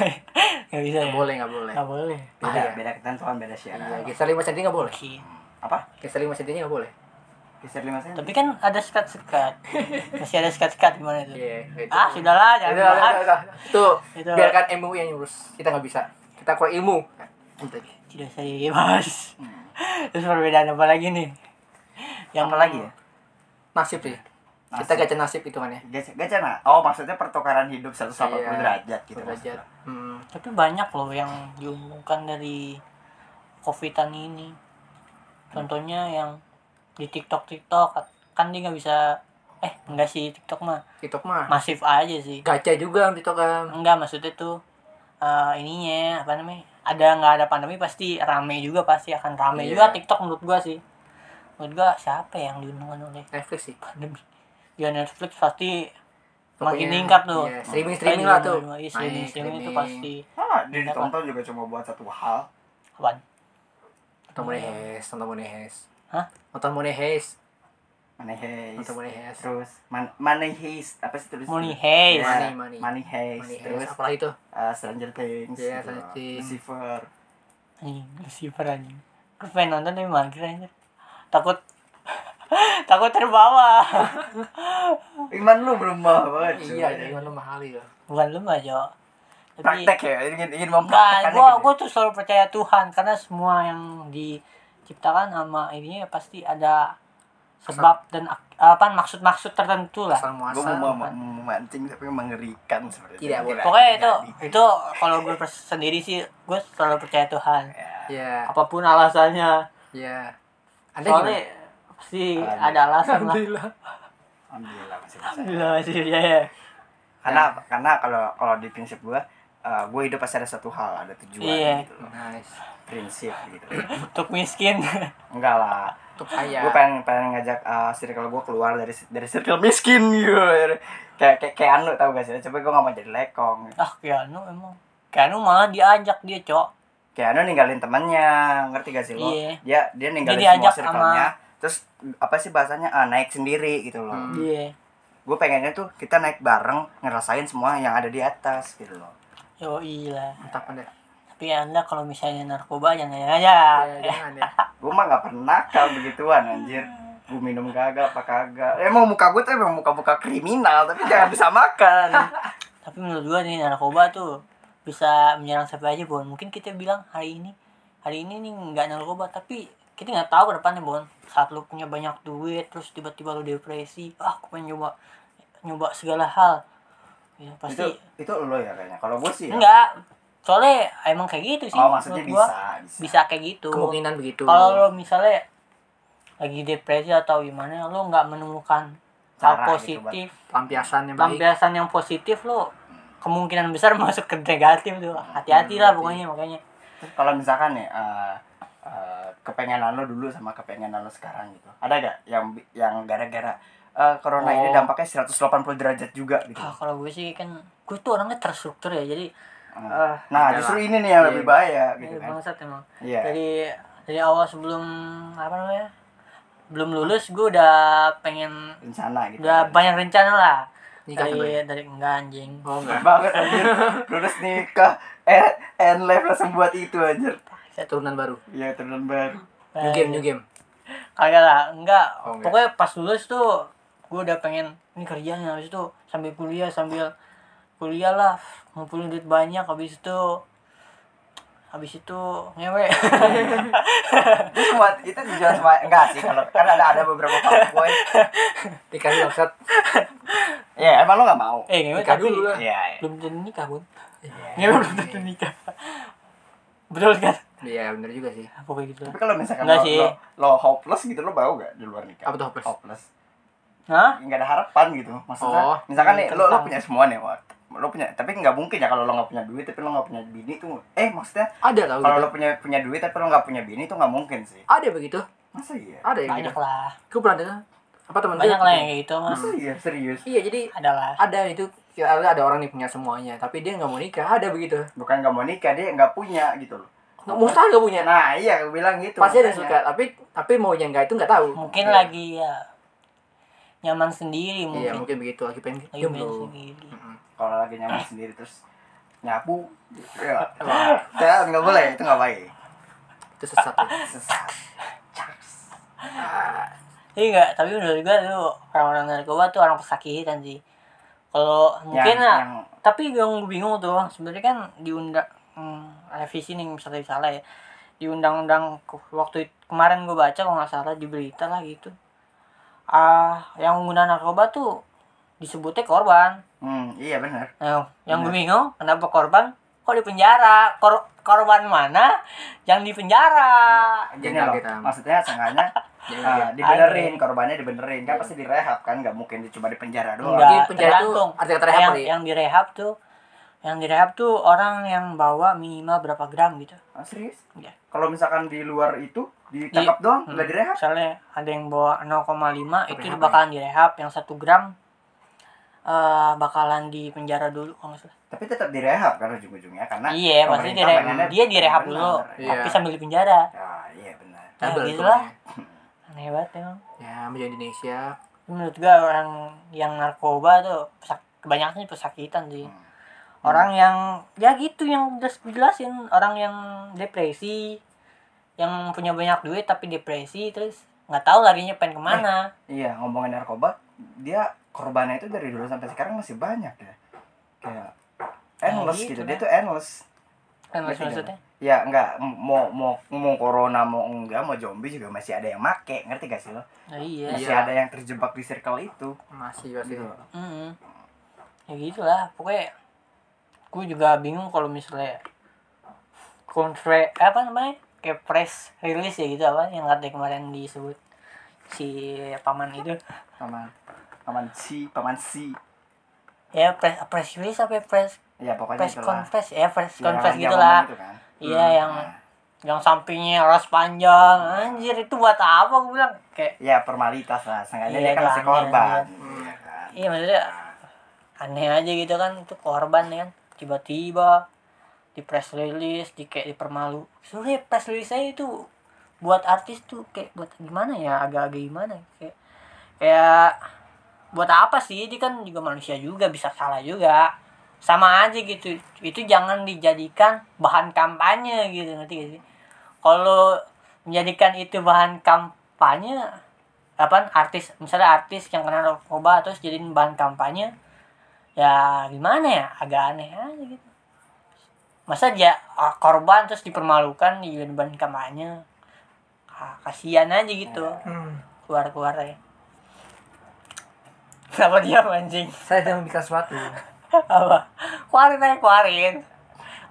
Speaker 1: nggak bisa ya
Speaker 3: Nggak boleh, nggak boleh.
Speaker 1: nggak boleh
Speaker 2: Beda,
Speaker 3: Iya.
Speaker 2: beda ketentuan, beda
Speaker 3: Iya,
Speaker 2: syarat.
Speaker 3: geser lima senti nggak boleh.
Speaker 1: Oke.
Speaker 2: Apa?
Speaker 3: Geser lima sentinya nggak boleh.
Speaker 2: Geser lima sen.
Speaker 1: tapi kan ada sekat-sekat masih ada sekat-sekat gimana itu
Speaker 3: Iya, itu.
Speaker 1: ah sudahlah jangan
Speaker 3: Udah, udah,
Speaker 1: dibahas.
Speaker 3: udah, udah. Itu
Speaker 1: Itu.
Speaker 3: biarkan ilmu yang ngurus. Kita nggak bisa. Kita kurang ilmu. Gitu.
Speaker 1: tidak serius terus perbedaan apa lagi nih yang
Speaker 2: Apa lagi ya?
Speaker 3: Nasib sih. Kita
Speaker 2: Nasib.
Speaker 3: gacha nasib gitu kan ya? hitungannya.
Speaker 2: Gacha, gacha nah. Oh, maksudnya pertukaran hidup 180
Speaker 3: Iya.
Speaker 2: derajat gitu.
Speaker 3: Derajat.
Speaker 2: maksudnya.
Speaker 3: Hmm.
Speaker 1: tapi banyak loh yang diumumkan dari covidan ini contohnya yang di tiktok tiktok kan dia nggak bisa eh enggak sih tiktok mah
Speaker 3: TikTok mah.
Speaker 1: masif aja sih
Speaker 3: Gacha juga TikTok kan.
Speaker 1: enggak maksudnya tuh eh, ininya apa namanya ada nggak ada pandemi pasti rame juga pasti akan rame
Speaker 3: Iya.
Speaker 1: juga tiktok menurut gua sih menurut gua siapa yang diuntungkan oleh
Speaker 3: Netflix sih.
Speaker 1: pandemi ya Netflix pasti makin
Speaker 3: Pokoknya,
Speaker 1: meningkat tuh
Speaker 3: iya, streaming-streaming lah tuh.
Speaker 1: iya streaming
Speaker 3: Naik,
Speaker 1: streaming itu
Speaker 3: streaming.
Speaker 1: pasti
Speaker 2: Ah,
Speaker 3: Iya,
Speaker 2: dia ditonton juga cuma buat satu hal.
Speaker 1: apaan
Speaker 3: Nonton Monehes, nonton Monehes.
Speaker 1: Hah?
Speaker 3: Nonton Monehes.
Speaker 2: money heist
Speaker 3: Untuk money heist.
Speaker 2: terus man- money heist apa sih terus
Speaker 1: Money heist.
Speaker 2: Iya,
Speaker 3: Money, money.
Speaker 2: money heist
Speaker 3: Money
Speaker 2: terus
Speaker 3: Heist, apalagi tuh
Speaker 2: uh, Stranger Things
Speaker 3: Iya,
Speaker 2: gitu.
Speaker 3: Stranger Things.
Speaker 2: Lucifer
Speaker 1: Anjing, Lucifer anjing. Gue pengen nonton tapi mager anjir. Takut takut terbawa.
Speaker 2: Iman lu belum mahal banget cuy.
Speaker 3: iya jadi lu mahal ya
Speaker 1: Bukan lu mah, Jo. Tapi
Speaker 2: praktek ya ingin ingin
Speaker 1: enggak,
Speaker 2: mempraktekannya
Speaker 1: gua
Speaker 2: gitu.
Speaker 1: gua tuh selalu percaya Tuhan karena semua yang diciptakan sama ininya pasti ada sebab dan ak- apa maksud-maksud tertentu lah.
Speaker 3: asal
Speaker 2: Gua
Speaker 3: muasal
Speaker 2: mau, mau, mau mancing tapi mengerikan sebenarnya
Speaker 3: Tidak boleh.
Speaker 1: Pokoknya itu
Speaker 2: Tidak
Speaker 1: itu kalau gue pers- sendiri sih gue selalu percaya Tuhan.
Speaker 2: Ya.
Speaker 3: ya
Speaker 1: Apapun alasannya.
Speaker 3: ya anda
Speaker 1: Soalnya
Speaker 3: gimana
Speaker 1: pasti
Speaker 2: Alasan.
Speaker 1: ada alasan lah.
Speaker 2: alhamdulillah masih bisa
Speaker 1: Alhamdulillah masih
Speaker 3: iya,
Speaker 1: percaya.
Speaker 2: karena karena kalau kalau di prinsip gua eh gue hidup pasti ada satu hal ada tujuan
Speaker 1: Iya.
Speaker 2: gitu loh.
Speaker 3: nice
Speaker 2: prinsip gitu
Speaker 1: Untuk miskin.
Speaker 2: enggak lah
Speaker 3: untuk
Speaker 1: Iya.
Speaker 3: kaya
Speaker 2: gue pengen pengen ngajak eh, circle gue keluar dari dari circle miskin gitu kayak kayak kayak anu tau gak sih coba gue nggak mau jadi lekong
Speaker 1: ah Keanu emang. Keanu malah diajak dia, Cok.
Speaker 2: kayak anu ninggalin temannya ngerti gak sih lo
Speaker 1: Iya.
Speaker 2: dia Ya, dia ninggalin
Speaker 1: Dia
Speaker 2: semua
Speaker 1: diajak
Speaker 2: circle-nya terus apa sih bahasanya Ah, naik sendiri gitu loh
Speaker 3: Hmm.
Speaker 1: Iya.
Speaker 2: gue pengennya tuh kita naik bareng ngerasain semua yang ada di atas gitu loh
Speaker 1: Yo iya.
Speaker 3: mantap anda
Speaker 1: Tapi Anda kalau misalnya narkoba jangan aja.
Speaker 3: ya, jangan ya
Speaker 2: gue mah nggak pernah nakal begituan anjir gue minum kagak apa kagak emang muka gue tuh emang muka-muka kriminal tapi jangan disamakan
Speaker 1: Tapi menurut gua nih narkoba tuh bisa menyerang siapa aja, Bon. Mungkin kita bilang hari ini hari ini nih nggak narkoba, tapi kita nggak tahu ke depannya, Bon. Saat lu punya banyak duit, terus tiba-tiba lu depresi, ah aku pengen nyoba nyoba segala hal. Ya, pasti
Speaker 2: itu itu lo ya kayaknya kalau gue sih ya.
Speaker 1: enggak. Soalnya emang kayak gitu sih.
Speaker 2: oh maksudnya
Speaker 1: menurut gua.
Speaker 2: bisa bisa
Speaker 1: bisa kayak gitu
Speaker 3: kemungkinan begitu
Speaker 1: kalau lo misalnya lagi depresi atau gimana lo nggak menemukan hal
Speaker 2: Cara gitu,
Speaker 1: positif
Speaker 3: lampiasan yang baik
Speaker 1: lampiasan yang positif lo kemungkinan besar masuk ke negatif tuh
Speaker 3: Hmm,
Speaker 1: hati-hati lah pokoknya makanya
Speaker 2: kalau misalkan ya eh, eh, kepengenan lo dulu sama kepengenan lo sekarang gitu ada gak yang yang gara-gara eh, corona
Speaker 1: Oh.
Speaker 2: ini dampaknya 180 derajat juga gitu
Speaker 1: Ah, kalau gue sih kan gue tuh orangnya terstruktur ya jadi
Speaker 2: Eh, nah
Speaker 3: Adalah.
Speaker 2: justru ini nih yang
Speaker 3: Iya.
Speaker 2: lebih bahaya gitu
Speaker 1: ini
Speaker 2: kan
Speaker 1: bangsat emang
Speaker 2: iya
Speaker 1: dari dari awal sebelum apa namanya belum lulus gue udah pengen
Speaker 2: rencana gitu
Speaker 1: udah
Speaker 2: kan.
Speaker 1: banyak rencana lah
Speaker 3: Iya Nikah
Speaker 1: dari dari enggak anjing
Speaker 3: oh enggak
Speaker 2: banget anjir lulus nikah eh end life langsung buat itu anjir
Speaker 3: turunan baru
Speaker 2: iya turun baru
Speaker 3: new game new game
Speaker 1: Kagak lah, enggak.
Speaker 3: Oh, enggak.
Speaker 1: Pokoknya pas lulus tuh gue udah pengen ini kerjaan habis itu sambil kuliah sambil kuliah lah ngumpulin duit banyak habis itu habis itu ngewe
Speaker 2: itu semua itu tujuan semua enggak sih kalau kan ada ada beberapa fuckboy
Speaker 3: dikasih maksud
Speaker 2: ya emang lo gak mau
Speaker 1: eh ngewe
Speaker 3: nikah
Speaker 1: tapi
Speaker 3: dulu lah
Speaker 2: iya iya.
Speaker 1: belum tentu nikah bun ngewe belum tentu nikah betul kan
Speaker 3: iya bener juga sih
Speaker 1: pokoknya gitu lah
Speaker 2: tapi kalau misalkan
Speaker 1: Enggak
Speaker 2: lo,
Speaker 1: sih.
Speaker 2: lo, lo hopeless gitu lo bau gak di luar nikah
Speaker 3: Apa tuh hopeless?
Speaker 2: hopeless
Speaker 1: Hah?
Speaker 2: nggak ada harapan gitu maksudnya
Speaker 3: Oh,
Speaker 2: misalkan nih
Speaker 1: iya,
Speaker 2: lo, lo
Speaker 1: tentang-
Speaker 2: punya semua nih Wak. lo punya tapi nggak mungkin ya kalau lo nggak punya duit tapi lo nggak punya bini tuh eh maksudnya
Speaker 3: ada tau
Speaker 2: kalau
Speaker 3: gitu
Speaker 2: lo punya punya duit tapi lo nggak punya bini tuh nggak mungkin sih
Speaker 3: ada begitu
Speaker 2: masa iya
Speaker 3: ada yang
Speaker 1: banyak
Speaker 3: gitu
Speaker 1: lah
Speaker 3: gue pernah dengar apa teman gue
Speaker 1: banyak lah yang
Speaker 3: gitu.
Speaker 1: kayak gitu mas
Speaker 2: masa iya serius
Speaker 3: iya jadi
Speaker 1: ada lah
Speaker 3: ada itu Ya, ada ada orang nih punya semuanya tapi dia nggak mau nikah ada begitu
Speaker 2: bukan nggak mau nikah dia nggak punya gitu loh
Speaker 3: nggak mustahil nggak punya
Speaker 2: nah iya gue bilang gitu
Speaker 3: pasti ada yang suka
Speaker 2: makanya.
Speaker 3: tapi tapi mau yang nggak itu nggak tahu
Speaker 1: mungkin
Speaker 2: Iya.
Speaker 1: lagi ya nyaman sendiri
Speaker 3: iya
Speaker 1: mungkin
Speaker 3: mungkin begitu lagi pengen
Speaker 1: lagi main
Speaker 3: jomblo
Speaker 1: sendiri
Speaker 3: Mm-mm.
Speaker 2: kalau lagi nyaman sendiri terus nyapu ya ya, nggak boleh itu nggak baik
Speaker 3: itu sesat ya.
Speaker 2: sesat Caks. Ah,
Speaker 1: Iya enggak, tapi menurut gua tuh orang-orang narkoba tuh orang pesakitan sih. Kalau mungkin
Speaker 2: yang,
Speaker 3: ah.
Speaker 1: lah,
Speaker 2: yang
Speaker 1: tapi yang gua bingung tuh sebenarnya kan diundang hmm, revisi nih misalnya salah ya. Di undang-undang ke- waktu it- kemarin gua baca kalau nggak salah di berita lah gitu. Ah, yang menggunakan narkoba tuh disebutnya korban.
Speaker 2: hmm, iya benar
Speaker 1: Nah, yang gua bingung kenapa korban kok di penjara? Kor- korban mana yang di penjara?
Speaker 2: gini
Speaker 3: Jangan
Speaker 2: loh
Speaker 3: kita.
Speaker 2: maksudnya sengaja
Speaker 3: Jangan
Speaker 2: eh,
Speaker 1: Iya,
Speaker 3: kaget.
Speaker 2: dibenerin korbannya dibenerin kan pasti direhab kan nggak mungkin cuma di penjara doang
Speaker 1: Enggak.
Speaker 3: mungkin penjara itu
Speaker 1: tergantung.
Speaker 3: arti kata rehab
Speaker 1: yang,
Speaker 3: kali ya.
Speaker 1: yang direhab tuh yang direhab tuh orang yang bawa minimal berapa gram gitu
Speaker 2: Ah, serius
Speaker 1: Iya. Hmm.
Speaker 2: kalau misalkan di luar itu ditangkap doang nggak direhab
Speaker 1: misalnya ada yang bawa 0,5 itu
Speaker 3: Rehab, ya?
Speaker 1: bakalan direhab yang satu gram eh bakalan di penjara dulu kalau nggak salah
Speaker 2: tapi tetap direhab kan ujung-ujungnya karena
Speaker 3: Nah,
Speaker 1: iya pasti
Speaker 2: pemerintah
Speaker 1: dire-
Speaker 2: pengennya
Speaker 1: dia direhab
Speaker 2: bener.
Speaker 1: dulu
Speaker 3: Iya.
Speaker 1: tapi sambil di penjara
Speaker 2: ya iya benar
Speaker 1: Nah,
Speaker 3: Double
Speaker 1: gitu lah.
Speaker 3: untungnya.
Speaker 1: aneh banget emang
Speaker 3: ya menjadi Indonesia
Speaker 1: menurut gua orang yang narkoba tuh pesak- kebanyakan sih pesakitan sih orang yang ya gitu yang udah jelasin orang yang depresi yang punya banyak duit tapi depresi terus nggak tahu larinya pengen kemana Eh,
Speaker 2: Iya, ngomongin narkoba, dia korbannya itu dari dulu sampai sekarang masih banyak ya. Kayak endless
Speaker 1: gitu,
Speaker 2: gitu,
Speaker 1: Nah.
Speaker 2: dia tuh endless.
Speaker 1: kan
Speaker 2: Ngerti
Speaker 1: maksud-
Speaker 2: nggak?
Speaker 1: maksudnya
Speaker 2: Ya enggak mau mau mau corona mau enggak mau zombie juga masih ada yang make, ngerti gak sih lo?
Speaker 1: Nah, iya
Speaker 3: Iya.
Speaker 2: Masih ada yang terjebak di circle itu.
Speaker 3: masih pasti
Speaker 2: Gitu.
Speaker 1: Mm-mm. ya gitulah pokoknya gue juga bingung kalau misalnya kontre apa namanya kayak press release ya gitu apa yang katanya kemarin disebut si paman itu
Speaker 2: Paman paman si, paman si.
Speaker 1: ya press press release apa ya? press
Speaker 2: Ya pokoknya
Speaker 1: press
Speaker 2: itulah.
Speaker 1: conference ya press
Speaker 2: Yang-
Speaker 1: conference
Speaker 2: yang
Speaker 1: gitulah
Speaker 2: ngomong itu kan.
Speaker 1: iya yang
Speaker 2: Nah,
Speaker 1: yang sampingnya ras panjang anjir itu buat apa gue bilang kayak
Speaker 2: ya formalitas lah, seenggaknya
Speaker 1: Iya,
Speaker 2: dia kan masih
Speaker 1: doanya.
Speaker 2: korban.
Speaker 3: Hmm.
Speaker 2: Iya kan?
Speaker 1: iya maksudnya aneh aja gitu kan itu korban ya kan tiba-tiba di press release di kayak dipermalu sebenarnya press release saya itu buat artis tuh kayak buat gimana ya agak-agak gimana kayak kayak buat apa sih dia kan juga manusia juga bisa salah juga sama aja gitu itu jangan dijadikan bahan kampanye gitu ngerti gak sih kalau menjadikan itu bahan kampanye apa artis misalnya artis yang kena narkoba terus jadiin bahan kampanye ya gimana ya agak aneh aja gitu masa dia ah, korban terus dipermalukan dijadiin bahan kampanye ah, kasihan aja gitu
Speaker 3: hmm.
Speaker 1: keluar-keluarnya kenapa dia anjing
Speaker 3: saya sedang memikirkan sesuatu
Speaker 1: apa keluarin aja keluarin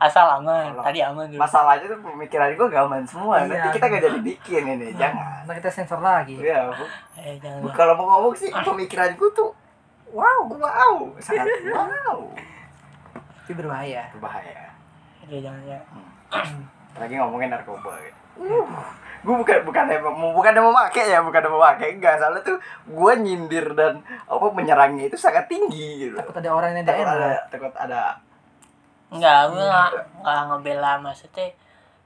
Speaker 1: asal aman
Speaker 2: Kalau-
Speaker 1: tadi aman dulu
Speaker 2: Masalahnya tuh pemikiran gue gaman semua.
Speaker 3: Iya.
Speaker 2: Nanti kita gak jadi bikin
Speaker 1: Iya.
Speaker 2: ini, jangan.
Speaker 3: nah, kita sensor lagi
Speaker 2: Iya, Bu.
Speaker 1: eh jangan
Speaker 2: Bu,
Speaker 1: dulu.
Speaker 2: kalau mau ngomong sih
Speaker 1: Ah.
Speaker 2: pemikiran gue tuh wow, wow, sangat wow.
Speaker 3: itu berbahaya
Speaker 2: Berbahaya.
Speaker 1: Aduh, jangan ya
Speaker 2: Lagi ngomongin narkoba. Gitu.
Speaker 1: Uh.
Speaker 2: gue bukan bukan mau bukan mau pakai ya bukan mau pakai enggak soalnya tuh gue nyindir dan apa menyerangnya itu sangat tinggi gitu
Speaker 3: takut ada orang yang
Speaker 2: takut
Speaker 3: tidak enak
Speaker 2: ada takut ada
Speaker 1: nggak gue nggak nggak ngebela maksudnya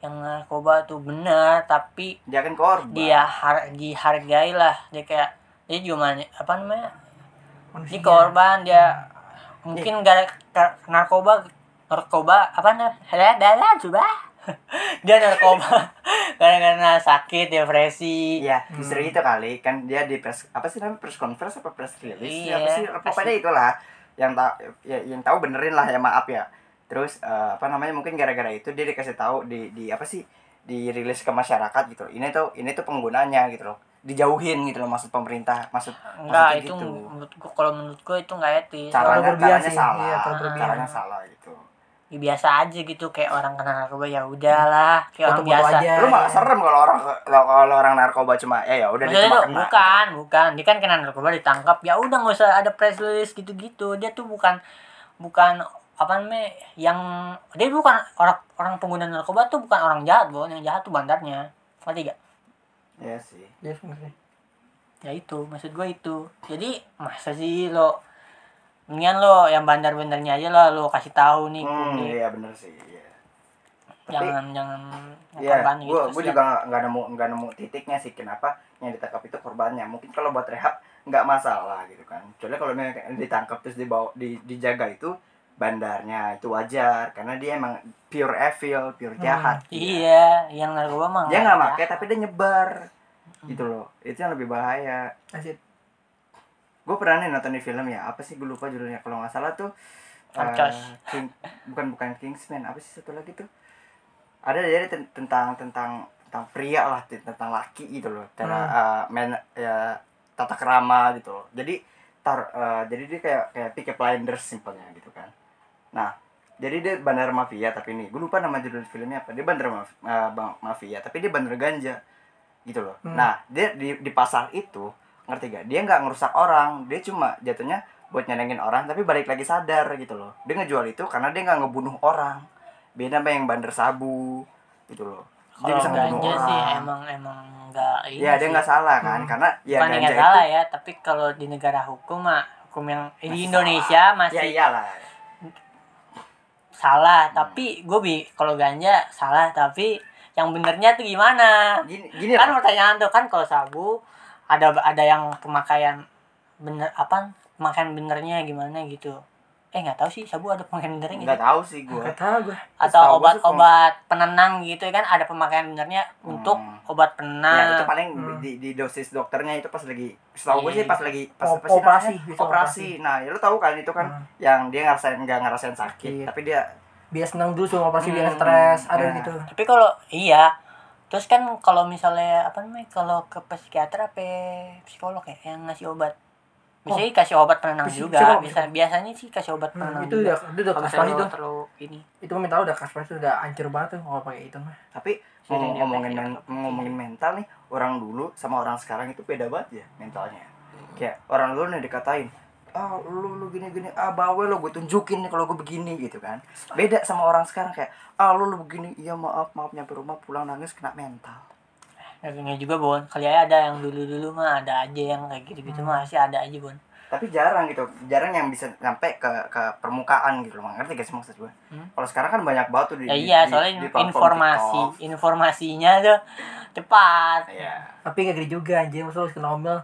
Speaker 1: yang narkoba tuh benar tapi
Speaker 2: dia kan korban
Speaker 1: dia har dihargai lah dia kayak dia juga mani- apa namanya
Speaker 3: Manusia.
Speaker 1: dia
Speaker 2: Iya.
Speaker 1: korban dia mungkin gara gara narkoba narkoba apa namanya dah coba dia narkoba karena sakit depresi
Speaker 2: Iya,
Speaker 3: Hmm.
Speaker 2: justru itu kali kan dia di press apa sih namanya press conference apa press release
Speaker 1: Iya,
Speaker 2: apa sih pokoknya
Speaker 1: pasti.
Speaker 2: itulah yang tahu ya, yang tahu benerin lah ya maaf ya. Terus eh, apa namanya mungkin gara-gara itu dia dikasih tahu di di apa sih dirilis ke masyarakat gitu. Ini tuh ini tuh penggunanya gitu loh. Dijauhin gitu loh maksud pemerintah, maksud
Speaker 1: Iya. Enggak,
Speaker 2: maksudnya
Speaker 1: itu
Speaker 2: gitu.
Speaker 1: menurut gua kalau menurut gua itu enggak etis.
Speaker 2: Caranya,
Speaker 3: terlalu berlebihan
Speaker 2: caranya
Speaker 3: sih.
Speaker 2: salah,
Speaker 3: Iya, terlalu berlebihan.
Speaker 2: caranya salah gitu.
Speaker 1: Ya, biasa aja gitu kayak orang kena narkoba ya udahlah, kayak orang
Speaker 3: Foto-foto
Speaker 1: Iya, biasa.
Speaker 3: aja.
Speaker 2: Lu malah serem kalau orang kalau orang narkoba cuma ya ya udah dia
Speaker 1: Maksudnya
Speaker 2: cuma
Speaker 1: tuh,
Speaker 2: kena.
Speaker 1: bukan, bukan. Dia kan kena narkoba ditangkap. Ya udah nggak usah ada press release gitu-gitu. Dia tuh bukan bukan apa namanya yang dia bukan orang orang pengguna narkoba tuh bukan orang jahat, Bon. Yang jahat tuh bandarnya. Ngerti gak?
Speaker 2: Iya sih.
Speaker 3: Iya, sebenarnya.
Speaker 1: Ya itu, maksud gua itu. Jadi masa sih lo mendingan lo yang bandar-bandarnya aja lah lo kasih tahu nih.
Speaker 2: Hmm,
Speaker 1: nih.
Speaker 2: iya bener sih. Iya. Tapi-
Speaker 1: jangan jangan
Speaker 2: Iya,
Speaker 1: korban gitu
Speaker 2: gue gue
Speaker 1: kasihan.
Speaker 2: juga nggak- nggak nemu nggak nemu titiknya sih kenapa yang ditangkap itu korbannya. Mungkin kalau buat rehab nggak masalah gitu kan. Kecuali kalau memang yang ditangkap terus dibawa di, dijaga itu bandarnya itu wajar karena dia emang pure evil, pure jahat.
Speaker 1: Hmm,
Speaker 2: Dia-
Speaker 1: iya yang narkoba mah
Speaker 2: Dia nggak
Speaker 1: ada.
Speaker 2: pakai tapi dia nyebar
Speaker 1: Hmm.
Speaker 2: gitu loh. Itu yang lebih bahaya.
Speaker 3: Asik.
Speaker 2: Gue pernah nih nonton di film ya apa sih gue lupa judulnya kalau nggak salah tuh. eh,
Speaker 1: Narcos.
Speaker 2: King- bukan bukan Kingsman apa sih satu lagi tuh ada jadi ten- tentang tentang tentang pria lah t- tentang laki gitu loh cara eh, men- ya, tata kerama gitu loh jadi tar eh, jadi dia kayak kayak Peaky Blinders simpelnya gitu kan nah jadi dia bandar mafia tapi ini gue lupa nama judul filmnya apa dia bandar maf- eh, bang- mafia tapi dia bandar ganja gitu loh
Speaker 3: Hmm.
Speaker 2: nah dia di di pasar itu ngerti gak dia nggak ngerusak orang dia cuma jatuhnya buat nyenengin orang tapi balik lagi sadar gitu loh dia ngejual itu karena dia nggak ngebunuh orang beda sama yang bandar sabu gitu loh dia
Speaker 1: Kalau
Speaker 2: bisa ngebunuh
Speaker 1: ganja sih
Speaker 2: orang
Speaker 1: emang emang nggak ini
Speaker 2: ya dia
Speaker 1: sih.
Speaker 2: nggak salah kan
Speaker 3: Hmm.
Speaker 2: karena ya
Speaker 1: bukan
Speaker 2: ganja
Speaker 1: nggak
Speaker 2: itu
Speaker 1: salah ya tapi kalau di negara hukum mah hukum yang di
Speaker 2: Masih
Speaker 1: Indonesia
Speaker 2: ya Hmm.
Speaker 1: masih
Speaker 2: iyalah
Speaker 1: salah tapi gue bi kalau ganja salah tapi yang benernya tuh gimana
Speaker 2: gini gini
Speaker 1: kan
Speaker 2: lah
Speaker 1: pertanyaan tuh kan kalau sabu ada ada yang pemakaian bener apa pemakaian benernya gimana gitu eh nggak tahu sih sabu ada pemakaian benernya nggak
Speaker 2: nggak tahu sih gue
Speaker 3: Gak tau gue
Speaker 1: atau
Speaker 2: setahu gua sih
Speaker 1: obat-obat penenang gitu kan ada pemakaian benernya untuk
Speaker 2: Hmm.
Speaker 1: obat
Speaker 2: ya
Speaker 1: penenang
Speaker 2: itu paling
Speaker 3: Hmm.
Speaker 2: di, di dosis dokternya itu pas lagi setahu gue
Speaker 1: Iya.
Speaker 2: sih pas lagi pas
Speaker 3: O-
Speaker 2: apa sih
Speaker 3: operasi,
Speaker 2: namanya?
Speaker 3: biasa
Speaker 2: operasi nah ya lu tahu kan itu kan
Speaker 3: Hmm.
Speaker 2: yang dia ngerasain nggak ngerasain sakit
Speaker 3: Iya.
Speaker 2: tapi dia
Speaker 3: Biar senang dulu sebelum operasi biar
Speaker 2: Hmm.
Speaker 3: stres Ada
Speaker 2: Nah.
Speaker 3: gitu
Speaker 1: tapi kalau iya terus kan kalau misalnya apa namanya kalau ke psikiater apa psikolog ya yang ngasih obat biasanya
Speaker 2: Oh.
Speaker 1: kasih obat penenang
Speaker 3: Psik-
Speaker 1: juga
Speaker 3: psikolog,
Speaker 1: bisa biasanya sih kasih obat
Speaker 3: Hmm,
Speaker 1: penenang
Speaker 3: itu
Speaker 1: juga.
Speaker 2: ya,
Speaker 3: udah, itu udah
Speaker 1: kalau
Speaker 3: kaspasi
Speaker 1: misalnya
Speaker 3: tuh
Speaker 1: lu terlalu ini
Speaker 3: Itu mental udah kaspasi tuh udah hancur banget tuh kalau pakai itu mah
Speaker 2: tapi
Speaker 1: Jadi
Speaker 2: ngom-
Speaker 1: dia gitu.
Speaker 2: ngomongin
Speaker 1: pengen
Speaker 2: men-
Speaker 1: dapat
Speaker 2: ngomongin mental nih orang dulu sama orang sekarang itu beda banget ya mentalnya
Speaker 1: Hmm.
Speaker 2: kayak orang dulu nih dikatain ah lu lu gini gini ah bawel lo gue tunjukin nih kalau gue begini gitu kan beda sama orang sekarang kayak ah lu lu begini iya maaf maaf nyampe rumah pulang nangis kena mental
Speaker 1: Dagingnya juga bon, kali aja ada yang dulu-dulu mah ada aja yang kayak gitu-gitu
Speaker 2: Hmm.
Speaker 1: mah sih ada aja bon.
Speaker 2: tapi jarang gitu jarang yang bisa sampai ke ke permukaan gitu loh ngerti gak sih maksud gue
Speaker 1: Hmm.
Speaker 2: kalau sekarang kan banyak banget tuh di,
Speaker 1: Ya
Speaker 2: di-
Speaker 1: iya
Speaker 2: di-
Speaker 1: soalnya
Speaker 2: di platform
Speaker 1: informasi
Speaker 2: TikTok.
Speaker 1: informasinya tuh cepat.
Speaker 2: Iya.
Speaker 3: Tapi gak gede juga anjir Maksudnya harus kena omel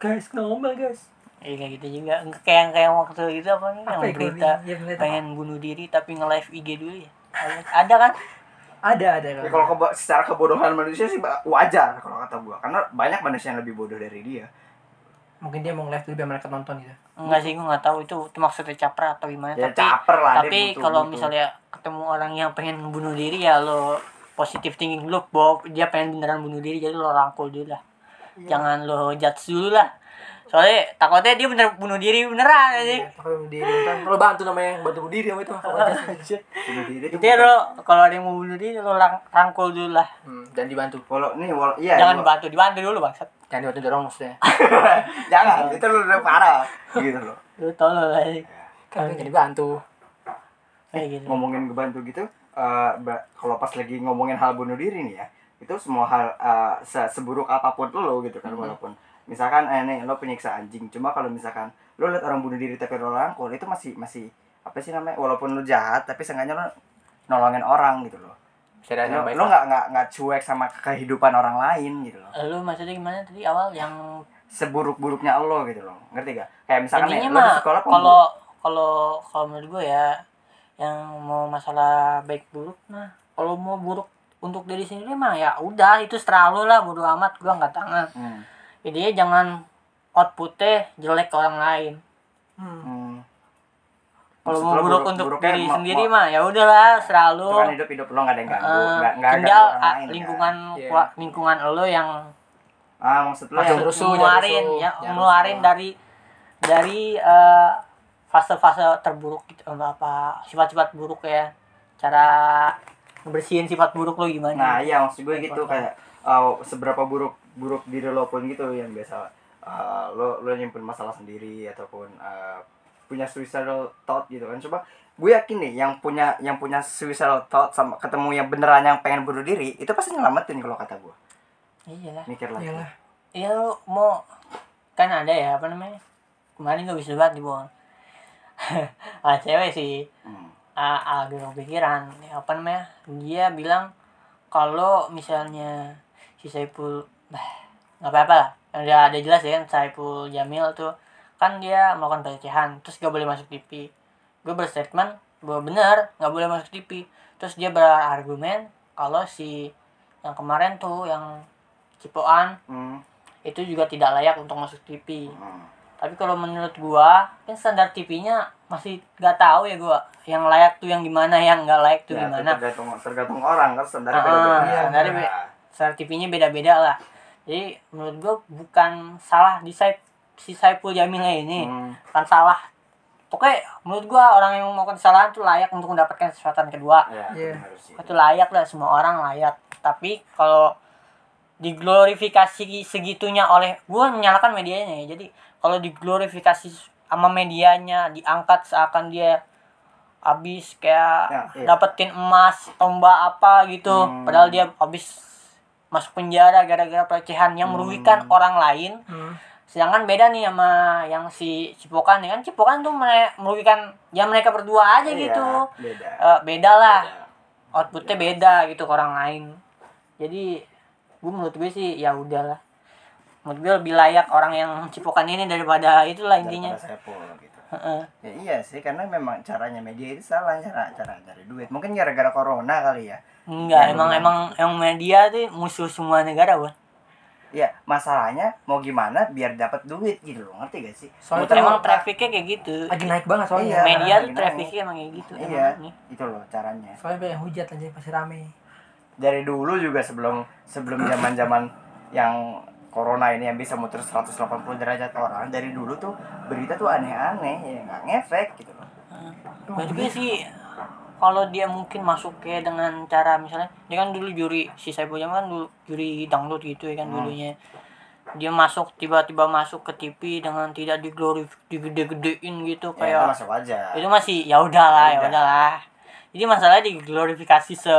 Speaker 3: Guys kena omel guys
Speaker 1: Iya kayak gitu juga. Kayak yang kayak waktu itu apa nih yang
Speaker 3: Apa ya,
Speaker 1: berita
Speaker 3: gua- ya, berita.
Speaker 1: pengen bunuh diri tapi nge-live IG dulu ya. Ada kan?
Speaker 3: Ada ada
Speaker 2: Ya, kalau kebo- secara kebodohan manusia sih ba- wajar kalau kata gua karena banyak manusia yang lebih bodoh dari dia
Speaker 3: Mungkin dia mau live dulu biar mereka nonton gitu
Speaker 1: Enggak sih gua nggak tahu itu, itu maksudnya capra atau gimana
Speaker 2: ya
Speaker 1: tapi
Speaker 2: caper lah dia
Speaker 1: tapi
Speaker 2: butuh-
Speaker 1: kalau
Speaker 2: butuh.
Speaker 1: misalnya ketemu orang yang pengen bunuh diri ya lo positif thinking dulu bahwa dia pengen beneran bunuh diri jadi lo rangkul dulu lah jangan lo judge dulu lah soalnya takutnya dia bener bunuh diri beneran ya aja
Speaker 3: Kalau dia nonton Kalau bantu namanya Bantu diri sama itu Kalau aja anjir
Speaker 2: bunuh diri itu
Speaker 1: jadi lo kalau ada yang mau bunuh diri lo rang- rangkul dulu lah
Speaker 3: Hmm, Dan dibantu
Speaker 2: kalau nih wal- iya
Speaker 1: jangan
Speaker 2: gua-
Speaker 1: dibantu dibantu dulu bangsat
Speaker 3: Dan dibantu dorong maksudnya
Speaker 2: jangan itu lu udah parah gitu loh
Speaker 1: lo tolol aja
Speaker 3: Kan jadi bantu
Speaker 1: kayak gitu
Speaker 2: ngomongin ngebantu gitu eh, ba- kalau pas lagi ngomongin hal bunuh diri nih ya itu semua hal eh, se- seburuk apapun lo gitu
Speaker 1: Mm-hmm.
Speaker 2: kan walaupun misalkan eh nih lo penyiksa anjing cuma kalau misalkan lo lihat orang bunuh diri tapi lo rangkul itu masih masih apa sih namanya walaupun lo jahat tapi seenggaknya lo nolongin orang gitu loh
Speaker 3: Bisa ada
Speaker 2: lo
Speaker 3: yang baik
Speaker 2: lo
Speaker 3: lah.
Speaker 2: nggak nggak nggak cuek sama kehidupan orang lain gitu loh
Speaker 1: lo maksudnya gimana tadi awal yang
Speaker 2: seburuk-buruknya lo gitu loh ngerti gak kayak misalkan nih,
Speaker 1: intinya
Speaker 2: lo di
Speaker 1: mah
Speaker 2: ya, sekolah pembu-
Speaker 1: kalau kalau kalau menurut gue ya yang mau masalah baik buruk mah kalau mau buruk untuk diri sendiri mah ya udah itu seterah lu lah bodo amat gua nggak tangan
Speaker 2: Hmm,
Speaker 1: jadi jangan outputnya jelek ke orang lain
Speaker 3: Hmm.
Speaker 2: hmm.
Speaker 1: kalau
Speaker 2: Maksud
Speaker 1: mau
Speaker 2: lo
Speaker 1: buruk, untuk
Speaker 2: buruknya
Speaker 1: diri
Speaker 2: ma-
Speaker 1: sendiri
Speaker 2: ma-
Speaker 1: mah ya udahlah serah lu
Speaker 2: itu kan hidup hidup lo nggak ada yang ganggu
Speaker 1: Oh. Eh,
Speaker 2: nggak nggak ganggu
Speaker 1: tinggal
Speaker 2: orang
Speaker 1: ah,
Speaker 2: lain, kan?
Speaker 1: lingkungan
Speaker 3: Iya.
Speaker 1: kua- lingkungan lo yang
Speaker 2: ah maksud lo yang
Speaker 3: Maksud- rusuh, jangan
Speaker 1: ngeluarin
Speaker 3: rusuh,
Speaker 1: ya
Speaker 3: jangan
Speaker 1: ngeluarin
Speaker 2: rusuh.
Speaker 1: dari dari eh, fase-fase terburuk gitu eh, apa sifat-sifat buruk ya cara ngebersihin sifat buruk lo gimana
Speaker 2: nah iya maksud gue gitu kayak uh, seberapa buruk buruk diri lo pun gitu yang biasa uh, lo lo nyimpen masalah sendiri ataupun uh, punya suicidal thought gitu kan coba gue yakin nih yang punya yang punya suicidal thought sama ketemu yang beneran yang pengen bunuh diri itu pasti nyelamatin kalau kata gue
Speaker 1: iyalah
Speaker 2: mikir lagi
Speaker 3: Iyalah.
Speaker 1: iya lo mau kan ada ya apa namanya kemarin gak bisa banget dibuang ah cewek sih
Speaker 2: Hmm.
Speaker 1: ah agak kepikiran Ya, apa namanya dia bilang kalau misalnya si Saipul bah nggak apa-apa lah yang udah ada jelas ya kan Saipul Jamil tuh kan dia melakukan pelecehan terus gak boleh masuk TV gue berstatement bahwa benar nggak boleh masuk TV terus dia berargumen kalau si yang kemarin tuh yang cipoan
Speaker 2: Hmm.
Speaker 1: itu juga tidak layak untuk masuk TV
Speaker 2: Hmm.
Speaker 1: tapi kalau menurut gua kan standar TV-nya masih nggak tahu ya gua yang layak tuh yang gimana yang nggak layak tuh
Speaker 2: Ya, itu
Speaker 1: gimana
Speaker 2: tergantung tergantung orang kan standar
Speaker 1: Ah,
Speaker 2: beda-beda.
Speaker 1: standarnya
Speaker 2: Nah,
Speaker 1: be- standar TV-nya beda-beda lah jadi menurut gua bukan salah di Saip, si Saipul Jamilnya ini
Speaker 2: hmm.
Speaker 1: bukan salah pokoknya menurut gua orang yang melakukan kesalahan tuh layak untuk mendapatkan kesempatan kedua
Speaker 2: Ya,
Speaker 3: Iya.
Speaker 2: harus sih.
Speaker 1: itu layak lah semua orang layak tapi kalau diglorifikasi segitunya oleh gue menyalahkan medianya ya jadi kalau diglorifikasi sama medianya diangkat seakan dia habis kayak
Speaker 2: Ya, iya.
Speaker 1: dapetin emas tombak apa gitu
Speaker 2: Hmm.
Speaker 1: padahal dia habis masuk penjara gara-gara pelecehan
Speaker 2: Hmm.
Speaker 1: yang merugikan orang lain
Speaker 3: Hmm.
Speaker 1: sedangkan beda nih sama yang si cipokan ya kan cipokan tuh mere- merugikan ya mereka berdua aja
Speaker 2: Iya,
Speaker 1: gitu
Speaker 2: beda.
Speaker 1: Eh, beda lah
Speaker 2: Beda. Ya.
Speaker 1: outputnya beda gitu ke orang lain jadi gue menurut gue sih ya udahlah menurut gue lebih layak orang yang cipokan ini daripada itulah intinya
Speaker 2: Daripada saya pol gitu
Speaker 1: Heeh.
Speaker 2: ya iya sih karena memang caranya media itu salah cara cara cari duit mungkin gara-gara corona kali ya
Speaker 1: enggak
Speaker 2: Ya,
Speaker 1: emang
Speaker 2: benar.
Speaker 1: emang emang media tuh musuh semua negara bun
Speaker 2: ya masalahnya mau gimana biar dapat duit gitu loh ngerti gak sih
Speaker 3: Soalnya
Speaker 2: Muter
Speaker 3: tuh
Speaker 1: emang
Speaker 3: Muter-muter.
Speaker 1: trafficnya kayak gitu
Speaker 3: lagi naik banget soalnya.
Speaker 2: Iya.
Speaker 1: media tuh
Speaker 2: lagi naik.
Speaker 1: trafficnya emang kayak gitu emang
Speaker 2: Iya.
Speaker 1: nih.
Speaker 2: itu loh caranya
Speaker 3: Soalnya banyak hujat aja pasti rame.
Speaker 2: dari dulu juga sebelum sebelum zaman zaman yang corona ini yang bisa muter 180 derajat orang dari dulu tuh berita tuh aneh-aneh ya nggak ngefek gitu loh iya.
Speaker 1: Menurut gue sih kalau dia mungkin masuknya dengan cara misalnya dia kan dulu juri si Saipul Jamil kan dulu juri dangdut gitu ya kan
Speaker 2: Hmm.
Speaker 1: dulunya dia masuk tiba-tiba masuk ke TV dengan tidak diglorif digede-gedein gitu
Speaker 2: ya itu
Speaker 1: kayak
Speaker 2: masuk aja
Speaker 1: itu masih ya udahlah ya
Speaker 2: Udah.
Speaker 1: udahlah jadi masalahnya diglorifikasi se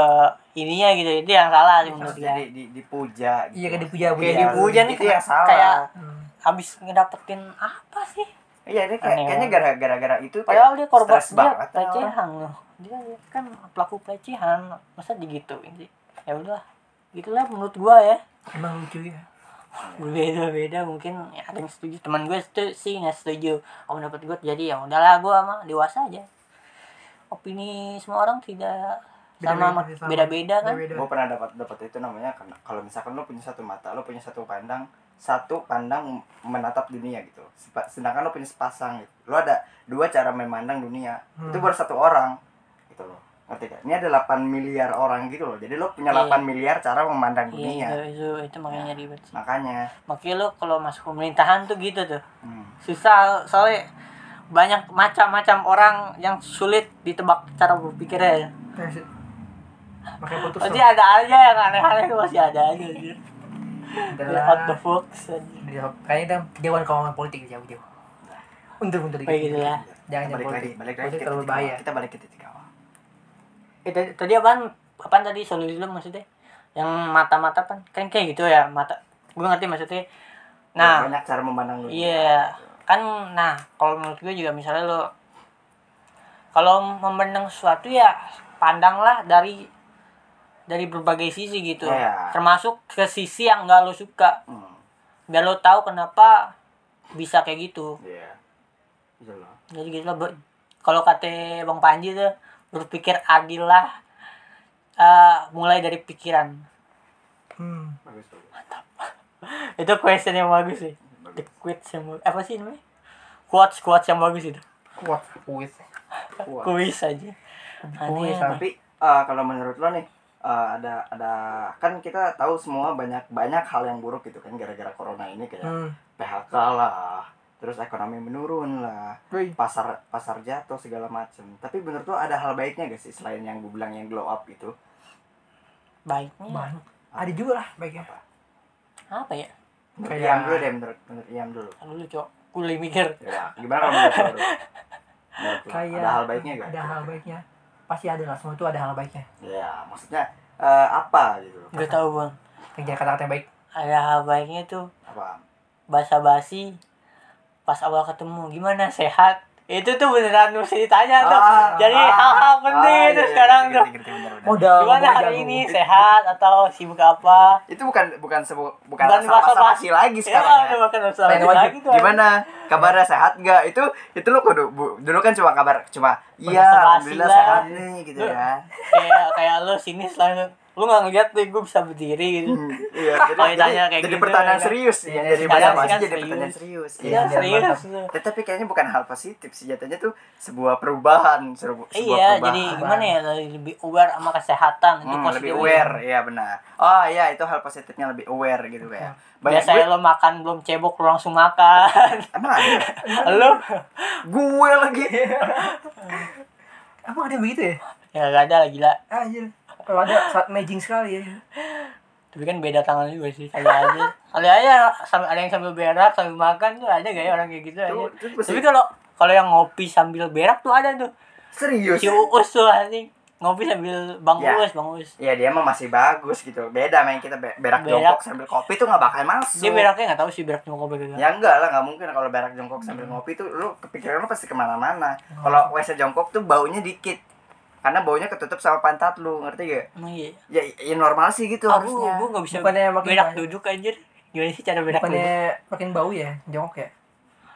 Speaker 1: ininya gitu itu yang salah sih menurut gue
Speaker 2: Terus Iya, jadi di, dipuja gitu.
Speaker 3: Iya kayak dipuja-puja.
Speaker 1: Iya. Kayak dipuja nih,
Speaker 2: itu yang salah
Speaker 1: kayak
Speaker 3: Hmm.
Speaker 1: habis ngedapetin apa sih
Speaker 2: Iya, dia kayak,
Speaker 1: Aneh
Speaker 2: kayaknya gara- gara-gara itu kayak
Speaker 1: Iya, padahal dia korban
Speaker 2: stres
Speaker 1: dia
Speaker 2: banget ya orang.
Speaker 1: pelecehan loh dia kan pelaku pelecehan masa digituin sih ya udah gitulah menurut gua ya
Speaker 3: Emang lucu ya.
Speaker 1: beda beda mungkin ya, ada yang setuju teman gue setu- sih nggak setuju om dapat gue jadi ya udahlah gua mah dewasa aja opini semua orang tidak sama
Speaker 3: Beda-beda, sama.
Speaker 1: beda beda kan
Speaker 3: Beda-beda.
Speaker 2: Gue pernah dapat dapat itu namanya karena kalau misalkan lo punya satu mata, lo punya satu pandang, satu pandang menatap dunia gitu. Sepa- Sedangkan lo punya sepasang gitu. Lo ada dua cara memandang dunia.
Speaker 3: Hmm.
Speaker 2: Itu baru satu orang gitu loh. Ngerti gak? Ini ada 8 miliar orang gitu loh. Jadi lo punya
Speaker 1: Iya.
Speaker 2: 8 miliar cara
Speaker 1: iya
Speaker 2: memandang dunia.
Speaker 1: itu, itu itu
Speaker 2: Iya.
Speaker 1: makanya ribet sih
Speaker 2: Makanya
Speaker 1: makanya lo kalau masuk pemerintahan tuh gitu tuh
Speaker 2: hmm.
Speaker 1: susah soalnya banyak macam-macam orang yang sulit ditebak cara berpikirnya
Speaker 3: Nah, sih. Makanya putus.
Speaker 1: Pasti
Speaker 3: loh.
Speaker 1: ada aja yang aneh-aneh tuh masih ada aja anjir.
Speaker 3: Adalah-
Speaker 1: Out the box anjir.
Speaker 3: Udah, Kayaknya kita kejauhan kalau ngomong politik jauh-jauh. Undur-undur dikit.
Speaker 1: Kayak gitu lah.
Speaker 3: Jangan jangan
Speaker 2: balik lagi,
Speaker 3: politik.
Speaker 2: balik lagi
Speaker 3: Politik
Speaker 2: ke
Speaker 3: terlalu
Speaker 2: titik
Speaker 3: bahaya.
Speaker 2: awal. Kita balik ke titik awal.
Speaker 1: Eh, tadi- tadi apaan? Apaan tadi solusi lu maksudnya? Yang mata-mata kan kan kayak gitu ya, mata. Gue ngerti maksudnya. Nah,
Speaker 2: banyak cara memandang dunia.
Speaker 1: iya. Kan nah, kalau menurut gue juga misalnya lo kalau memandang sesuatu ya pandanglah dari dari berbagai sisi gitu.
Speaker 2: Iya.
Speaker 1: Termasuk ke sisi yang gak lo suka.
Speaker 2: Hmm.
Speaker 1: Biar lo tahu kenapa bisa kayak gitu.
Speaker 2: Iya. Gitu loh.
Speaker 1: jadi gitu lah Bro. kalau kata bang Panji tuh berpikir adil lah eh, mulai dari pikiran
Speaker 3: Hmm.
Speaker 2: Bagus bagus.
Speaker 1: itu question yang bagus sih the quotes yang bagus. apa sih namanya quotes quotes yang bagus itu
Speaker 3: Kuat. Kuat.
Speaker 2: Wah.
Speaker 1: kuis aja Aneh,
Speaker 3: Kuat.
Speaker 1: aneh.
Speaker 2: tapi eh, kalau menurut lo nih eh, ada ada kan kita tahu semua banyak banyak hal yang buruk gitu kan gara-gara corona ini kayak
Speaker 3: Hmm.
Speaker 2: PHK lah terus ekonomi menurun lah pasar pasar jatuh segala macem tapi menurut lo ada hal baiknya gak sih selain yang gue bilang yang glow up gitu
Speaker 1: baiknya
Speaker 3: Banyak. Ada juga lah baiknya.
Speaker 1: apa ya
Speaker 2: menurut
Speaker 3: Kayak-
Speaker 2: Iam dulu deh menurut menurut Iam dulu
Speaker 1: Aduh, lu cok gue lagi mikir
Speaker 2: ya gimana kalau menurut lo dulu? Menurut lo,
Speaker 3: Kayak
Speaker 2: ada hal baiknya gak
Speaker 3: Ada hal baiknya. Pasti ada lah semua itu ada hal baiknya.
Speaker 2: ya maksudnya eh, apa gitu loh
Speaker 1: gue tahu bang
Speaker 3: Kerja kata-kata yang baik.
Speaker 1: ada hal baiknya tuh
Speaker 2: apa
Speaker 1: basa basi pas awal ketemu gimana sehat itu tuh beneran mesti ditanya tuh
Speaker 2: Ah,
Speaker 1: jadi
Speaker 2: ah,
Speaker 1: hal-hal penting
Speaker 2: ah,
Speaker 1: itu
Speaker 2: iya, iya,
Speaker 1: sekarang
Speaker 2: ngerti,
Speaker 1: tuh
Speaker 2: ngerti, ngerti, bener, bener.
Speaker 3: Modal.
Speaker 1: gimana
Speaker 3: modal
Speaker 1: hari
Speaker 3: jago.
Speaker 1: ini sehat atau sibuk apa
Speaker 2: itu bukan bukan sebu- bukan
Speaker 1: Bukan
Speaker 2: asal
Speaker 1: basa-basi.
Speaker 2: basi lagi
Speaker 1: ya
Speaker 2: sekarang ya.
Speaker 1: udah makan usah
Speaker 3: Tanya wajib.
Speaker 1: lagi tuh
Speaker 2: gimana kabarnya sehat gak itu itu lu kudu bu- dulu kan cuma kabar cuma iya
Speaker 1: Basa-basi
Speaker 2: alhamdulillah
Speaker 1: lah."
Speaker 2: sehat nih gitu
Speaker 1: Lu-
Speaker 2: ya
Speaker 1: kayak kayak lo sini selalu lu nggak ngeliat tuh gue bisa berdiri gitu
Speaker 2: Hmm, iya
Speaker 1: Kalau
Speaker 2: jadi,
Speaker 1: ditanya kayak
Speaker 2: jadi, jadi
Speaker 1: gitu,
Speaker 2: pertanyaan
Speaker 1: ya.
Speaker 2: serius
Speaker 3: Iya,
Speaker 2: yang jadi
Speaker 1: sekarang
Speaker 2: bahasa
Speaker 1: kan
Speaker 2: basi jadi
Speaker 1: serius.
Speaker 2: pertanyaan serius
Speaker 1: iya
Speaker 2: iya.
Speaker 3: biar
Speaker 1: serius
Speaker 3: mantap.
Speaker 1: tuh.
Speaker 2: Tapi kayaknya bukan hal positif sih jatuhnya tuh sebuah perubahan seru- sebuah
Speaker 1: iya
Speaker 2: perubahan.
Speaker 1: jadi gimana ya lebih aware sama kesehatan itu
Speaker 2: Hmm,
Speaker 1: positif
Speaker 2: lebih aware ya benar oh iya itu hal positifnya lebih aware gitu kayak banyak
Speaker 1: biasanya
Speaker 2: gue
Speaker 1: lo makan belum cebok lo langsung makan
Speaker 2: emang ada ya?
Speaker 1: lo
Speaker 2: gue lagi
Speaker 3: Emang ada begitu ya?
Speaker 1: ya gak ada lah gila
Speaker 3: Anjir. Kalau ada saat amazing sekali ya.
Speaker 1: tapi kan beda tangan juga sih kali aja kali aja sambil ada yang sambil berak sambil makan tuh ada gak ya orang kayak gitu aja
Speaker 2: Tuh, tuh pasti-
Speaker 1: tapi kalau kalau yang ngopi sambil berak tuh ada tuh
Speaker 2: serius
Speaker 1: si Uus tuh anjing ngopi sambil bang
Speaker 2: Ya.
Speaker 1: Uus bang Uus
Speaker 2: ya dia mah masih bagus gitu beda main kita be- berak,
Speaker 1: Berak.
Speaker 2: jongkok sambil kopi tuh nggak bakal masuk
Speaker 1: dia beraknya nggak tahu sih berak gitu. nyokap apa enggak
Speaker 2: ya enggak lah nggak mungkin kalau berak
Speaker 1: Hmm. Oh.
Speaker 2: jongkok sambil ngopi tuh lu kepikiran lu pasti kemana-mana kalau wc jongkok tuh baunya dikit karena baunya ketutup sama pantat lu ngerti gak
Speaker 1: Emang iya.
Speaker 2: ya, ya normal sih gitu
Speaker 1: Aku
Speaker 2: harusnya
Speaker 1: gue nggak bisa
Speaker 3: Bukannya makin
Speaker 1: berak
Speaker 3: banyak.
Speaker 1: duduk anjir. Gimana sih cara berak
Speaker 3: bukannya
Speaker 1: duduk?
Speaker 3: makin bau ya jongkok ya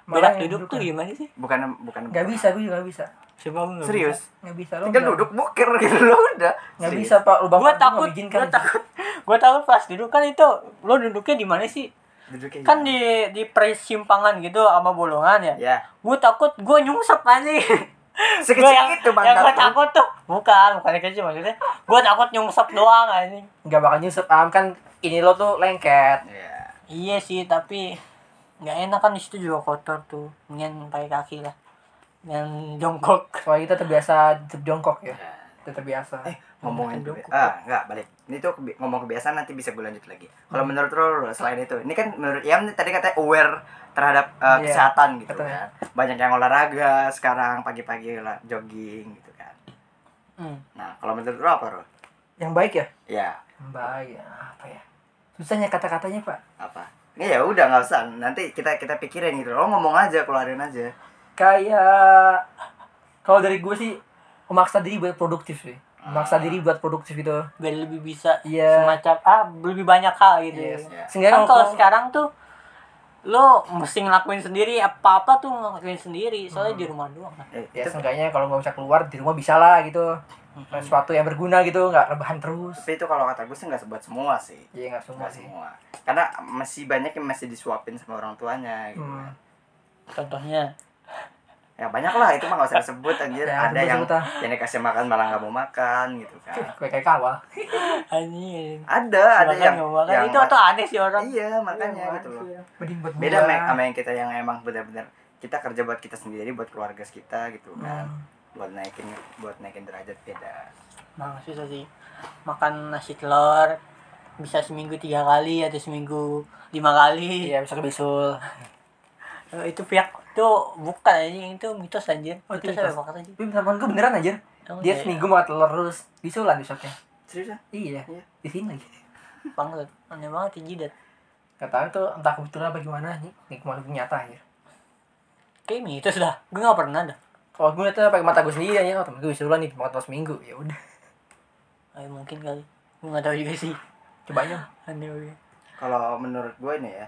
Speaker 1: Berak
Speaker 3: yang
Speaker 1: duduk tuh
Speaker 3: kan.
Speaker 1: gimana sih?
Speaker 2: bukan bukan
Speaker 3: nggak bisa gue juga nggak bisa
Speaker 1: Coba gue nggak
Speaker 2: serius
Speaker 3: nggak bisa lo
Speaker 2: tinggal
Speaker 3: nggak-
Speaker 2: duduk bukir gitu lo udah
Speaker 3: nggak
Speaker 2: Serius.
Speaker 3: bisa pak lubang
Speaker 1: Gue
Speaker 3: hidung nggak
Speaker 1: Iya. takut,
Speaker 3: bikin kan
Speaker 1: gue takut, gue takut pas duduk kan itu lo duduknya di mana sih?
Speaker 3: Iya.
Speaker 2: Duduknya
Speaker 1: Kan
Speaker 2: gimana?
Speaker 1: di di persimpangan gitu sama bolongan ya.
Speaker 3: Iya.
Speaker 2: ya
Speaker 1: Gue takut gue nyungsep anjing.
Speaker 2: sekecil
Speaker 1: Gua yang-
Speaker 2: itu
Speaker 1: Yang gue
Speaker 2: pantat lu.
Speaker 1: takut tuh bukan bukan kecil maksudnya. Gue takut nyungsep doang anjing.
Speaker 3: nggak bakal nyusut am kan ini lo tuh lengket
Speaker 2: Iya.
Speaker 1: Iya sih, tapi nggak enak kan di situ juga kotor tuh. Mendingan pakai kaki lah. Yang jongkok.
Speaker 3: soalnya kita terbiasa tetap jongkok ya kita terbiasa
Speaker 1: Eh.
Speaker 2: Eh, ngomongin
Speaker 1: Makan
Speaker 2: kebi-
Speaker 1: jongkok.
Speaker 2: ah nggak balik ini tuh kebi- ngomong kebiasaan nanti bisa gue lanjut lagi kalau menurut lo selain itu ini kan menurut Iam nih tadi katanya aware terhadap uh,
Speaker 3: Iya,
Speaker 2: kesehatan gitu
Speaker 3: betul.
Speaker 2: kan banyak yang olahraga sekarang pagi-pagi olah- jogging gitu kan
Speaker 1: Hmm.
Speaker 2: nah kalau menurut lo apa lo
Speaker 3: yang baik ya
Speaker 2: ya
Speaker 3: yang baik ya apa ya susahnya kata-katanya pak
Speaker 2: apa ini ya udah nggak usah nanti kita kita pikirin gitu lo ngomong aja keluarin aja
Speaker 3: kayak kalau dari gue sih memaksa diri buat produktif sih
Speaker 1: Ah.
Speaker 3: memaksa diri buat produktif gitu
Speaker 1: Biar lebih bisa
Speaker 3: Iya.
Speaker 1: semacam ah lebih banyak hal gitu.
Speaker 2: Iya
Speaker 3: Yes.
Speaker 1: ya.
Speaker 3: sehingga
Speaker 1: Kan kalau
Speaker 3: kalau
Speaker 1: sekarang tuh lo mesti ngelakuin sendiri apa-apa tuh ngelakuin sendiri soalnya di rumah doang kan.
Speaker 2: Eh,
Speaker 3: ya
Speaker 2: itu-
Speaker 3: seenggaknya kalau nggak bisa keluar di rumah bisa lah gitu sesuatu yang berguna gitu nggak rebahan terus
Speaker 2: tapi itu kalau kata gue sih nggak buat semua sih
Speaker 3: Iya nggak semua
Speaker 2: nggak
Speaker 3: sih
Speaker 2: semua karena masih banyak yang masih disuapin sama orang tuanya gitu
Speaker 3: Hmm.
Speaker 2: kan.
Speaker 1: contohnya
Speaker 2: ya banyak lah itu mah nggak usah disebut anjir
Speaker 3: Ya,
Speaker 2: ada yang
Speaker 3: sebut-sebut ah.
Speaker 2: yang dikasih makan malah nggak mau makan gitu kan
Speaker 3: Nah, kayak kayak kawal
Speaker 1: anjing
Speaker 2: ada ada
Speaker 1: Makan
Speaker 2: yang,
Speaker 1: nggak makan.
Speaker 2: yang
Speaker 1: itu tuh aneh sih orang Iya.
Speaker 2: iya makanya gitu loh
Speaker 3: mending buat
Speaker 2: beda
Speaker 3: gua.
Speaker 2: Mek, sama yang kita yang emang benar-benar kita kerja buat kita sendiri buat keluarga kita gitu kan
Speaker 3: Hmm.
Speaker 2: buat naikin buat naikin derajat beda
Speaker 1: Nah, susah sih. Makan nasi telur bisa seminggu tiga kali atau seminggu lima kali.
Speaker 3: iya bisa kebisul
Speaker 1: Eh, itu pihak itu bukan anjing itu mitos anjir.
Speaker 3: Oh, itu
Speaker 1: itu saya
Speaker 3: mitos.
Speaker 1: makan aja.
Speaker 3: tapi teman gue beneran aja dia seminggu makan telur terus bisulan besoknya
Speaker 2: serius ya?
Speaker 3: iya
Speaker 2: Iya.
Speaker 3: di sini lagi
Speaker 1: banget. Aneh banget ya jidat.
Speaker 3: nggak tahu tuh entah kebetulan apa gimana nih nih kemarin gue nyata aja
Speaker 1: Kayak mitos dah. Gue gak pernah dah.
Speaker 3: kalau gue liatnya pakai mata gue sendiri aja oh, temen gue bisulan nih makan telur seminggu ya udah
Speaker 1: Eh, mungkin kali. Gue gak tahu juga sih.
Speaker 3: coba aja
Speaker 1: Aneh banget.
Speaker 2: kalau menurut gue ini ya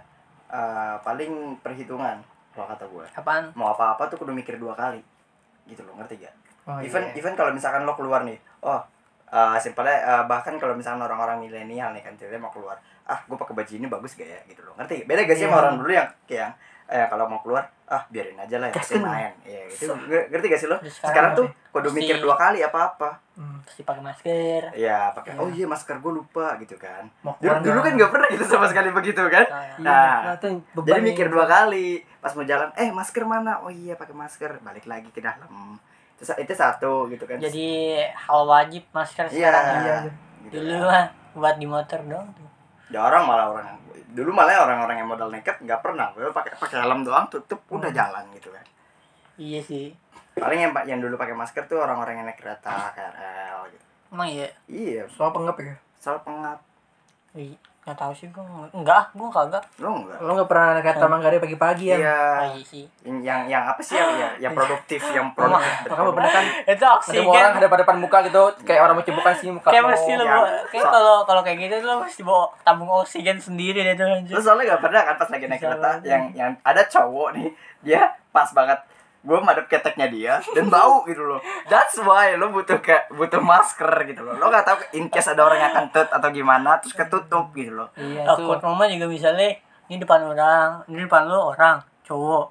Speaker 2: eh, paling perhitungan kalau kata gue
Speaker 1: Apaan?
Speaker 2: mau apa-apa tuh kudu mikir dua kali gitu loh ngerti gak?
Speaker 3: oh,
Speaker 2: even
Speaker 3: iya.
Speaker 2: even kalau misalkan lo keluar nih oh eh, simpelnya eh, bahkan kalau misalkan orang-orang milenial nih kan ceritanya mau keluar ah gue pakai baju ini bagus gak ya gitu loh ngerti beda gak sih sama
Speaker 3: Iya.
Speaker 2: orang dulu yang yang eh, kalau mau keluar ah biarin aja lah yang penting
Speaker 3: Gaskeun.
Speaker 2: main ya itu ngerti gak sih lo
Speaker 1: Terus sekarang
Speaker 2: sekarang tuh kudu
Speaker 1: Mesti-
Speaker 2: mikir dua kali apa apa
Speaker 3: Hmm.
Speaker 1: Pasti pakai masker.
Speaker 2: ya pakai
Speaker 3: Iya.
Speaker 2: oh iya masker gue lupa gitu kan
Speaker 3: mau
Speaker 2: dulu,
Speaker 3: keluar
Speaker 2: dulu kan gak pernah gitu sama sekali begitu kan
Speaker 1: Nah,
Speaker 3: Iya,
Speaker 2: Nah,
Speaker 3: nah, tuh
Speaker 2: jadi
Speaker 3: beban
Speaker 2: mikir
Speaker 3: nih.
Speaker 2: dua kali pas mau jalan eh masker mana oh iya pakai masker balik lagi ke dalam Terus itu satu gitu kan
Speaker 1: jadi hal wajib masker
Speaker 2: Iya.
Speaker 1: sekarang.
Speaker 3: Iya, iya.
Speaker 2: Gitu
Speaker 1: Dulu
Speaker 2: kan.
Speaker 1: mah buat di motor dong.
Speaker 2: Ya orang malah orang dulu malah orang-orang yang modal nekat nggak pernah. Gue pakai pakai helm doang tutup udah
Speaker 3: Hmm.
Speaker 2: jalan gitu kan.
Speaker 1: Iya sih.
Speaker 2: Paling yang yang dulu pakai masker tuh orang-orang yang naik kereta KRL gitu.
Speaker 1: Emang iya.
Speaker 2: Iya,
Speaker 3: soal pengep ya
Speaker 2: soal pengap
Speaker 1: Ih, Nggak tahu sih gue. Enggak, gue kagak.
Speaker 2: lo enggak?
Speaker 3: lo nggak pernah naik kereta Manggarai pagi-pagi ya
Speaker 2: Iya.
Speaker 1: Iya sih.
Speaker 2: Yang, yang yang apa sih yang yang,
Speaker 3: Iya.
Speaker 2: yang produktif yang produktif.
Speaker 3: Maka lo pernah kan
Speaker 1: itu
Speaker 3: ada
Speaker 1: oksigen
Speaker 3: orang ada pada depan muka gitu kayak orang mau cipokan sih muka
Speaker 1: kayak
Speaker 3: lo.
Speaker 1: mesti lo
Speaker 2: ya.
Speaker 1: bawa- kayak
Speaker 2: So-
Speaker 1: kalau kalau kayak gitu lo mesti bawa tabung oksigen sendiri deh tuh anjir
Speaker 2: Lo soalnya gak pernah kan pas lagi naik
Speaker 1: Bisa
Speaker 2: kereta
Speaker 1: banget.
Speaker 2: yang yang ada cowok nih dia pas banget gue madep keteknya dia dan bau gitu loh that's why lo butuh ke, butuh masker gitu loh lo gak tahu in case ada orang yang kentut atau gimana terus ketutup gitu loh
Speaker 1: Ya,
Speaker 3: iya tuh
Speaker 1: takut mama juga misalnya ini depan orang ini depan lo orang cowok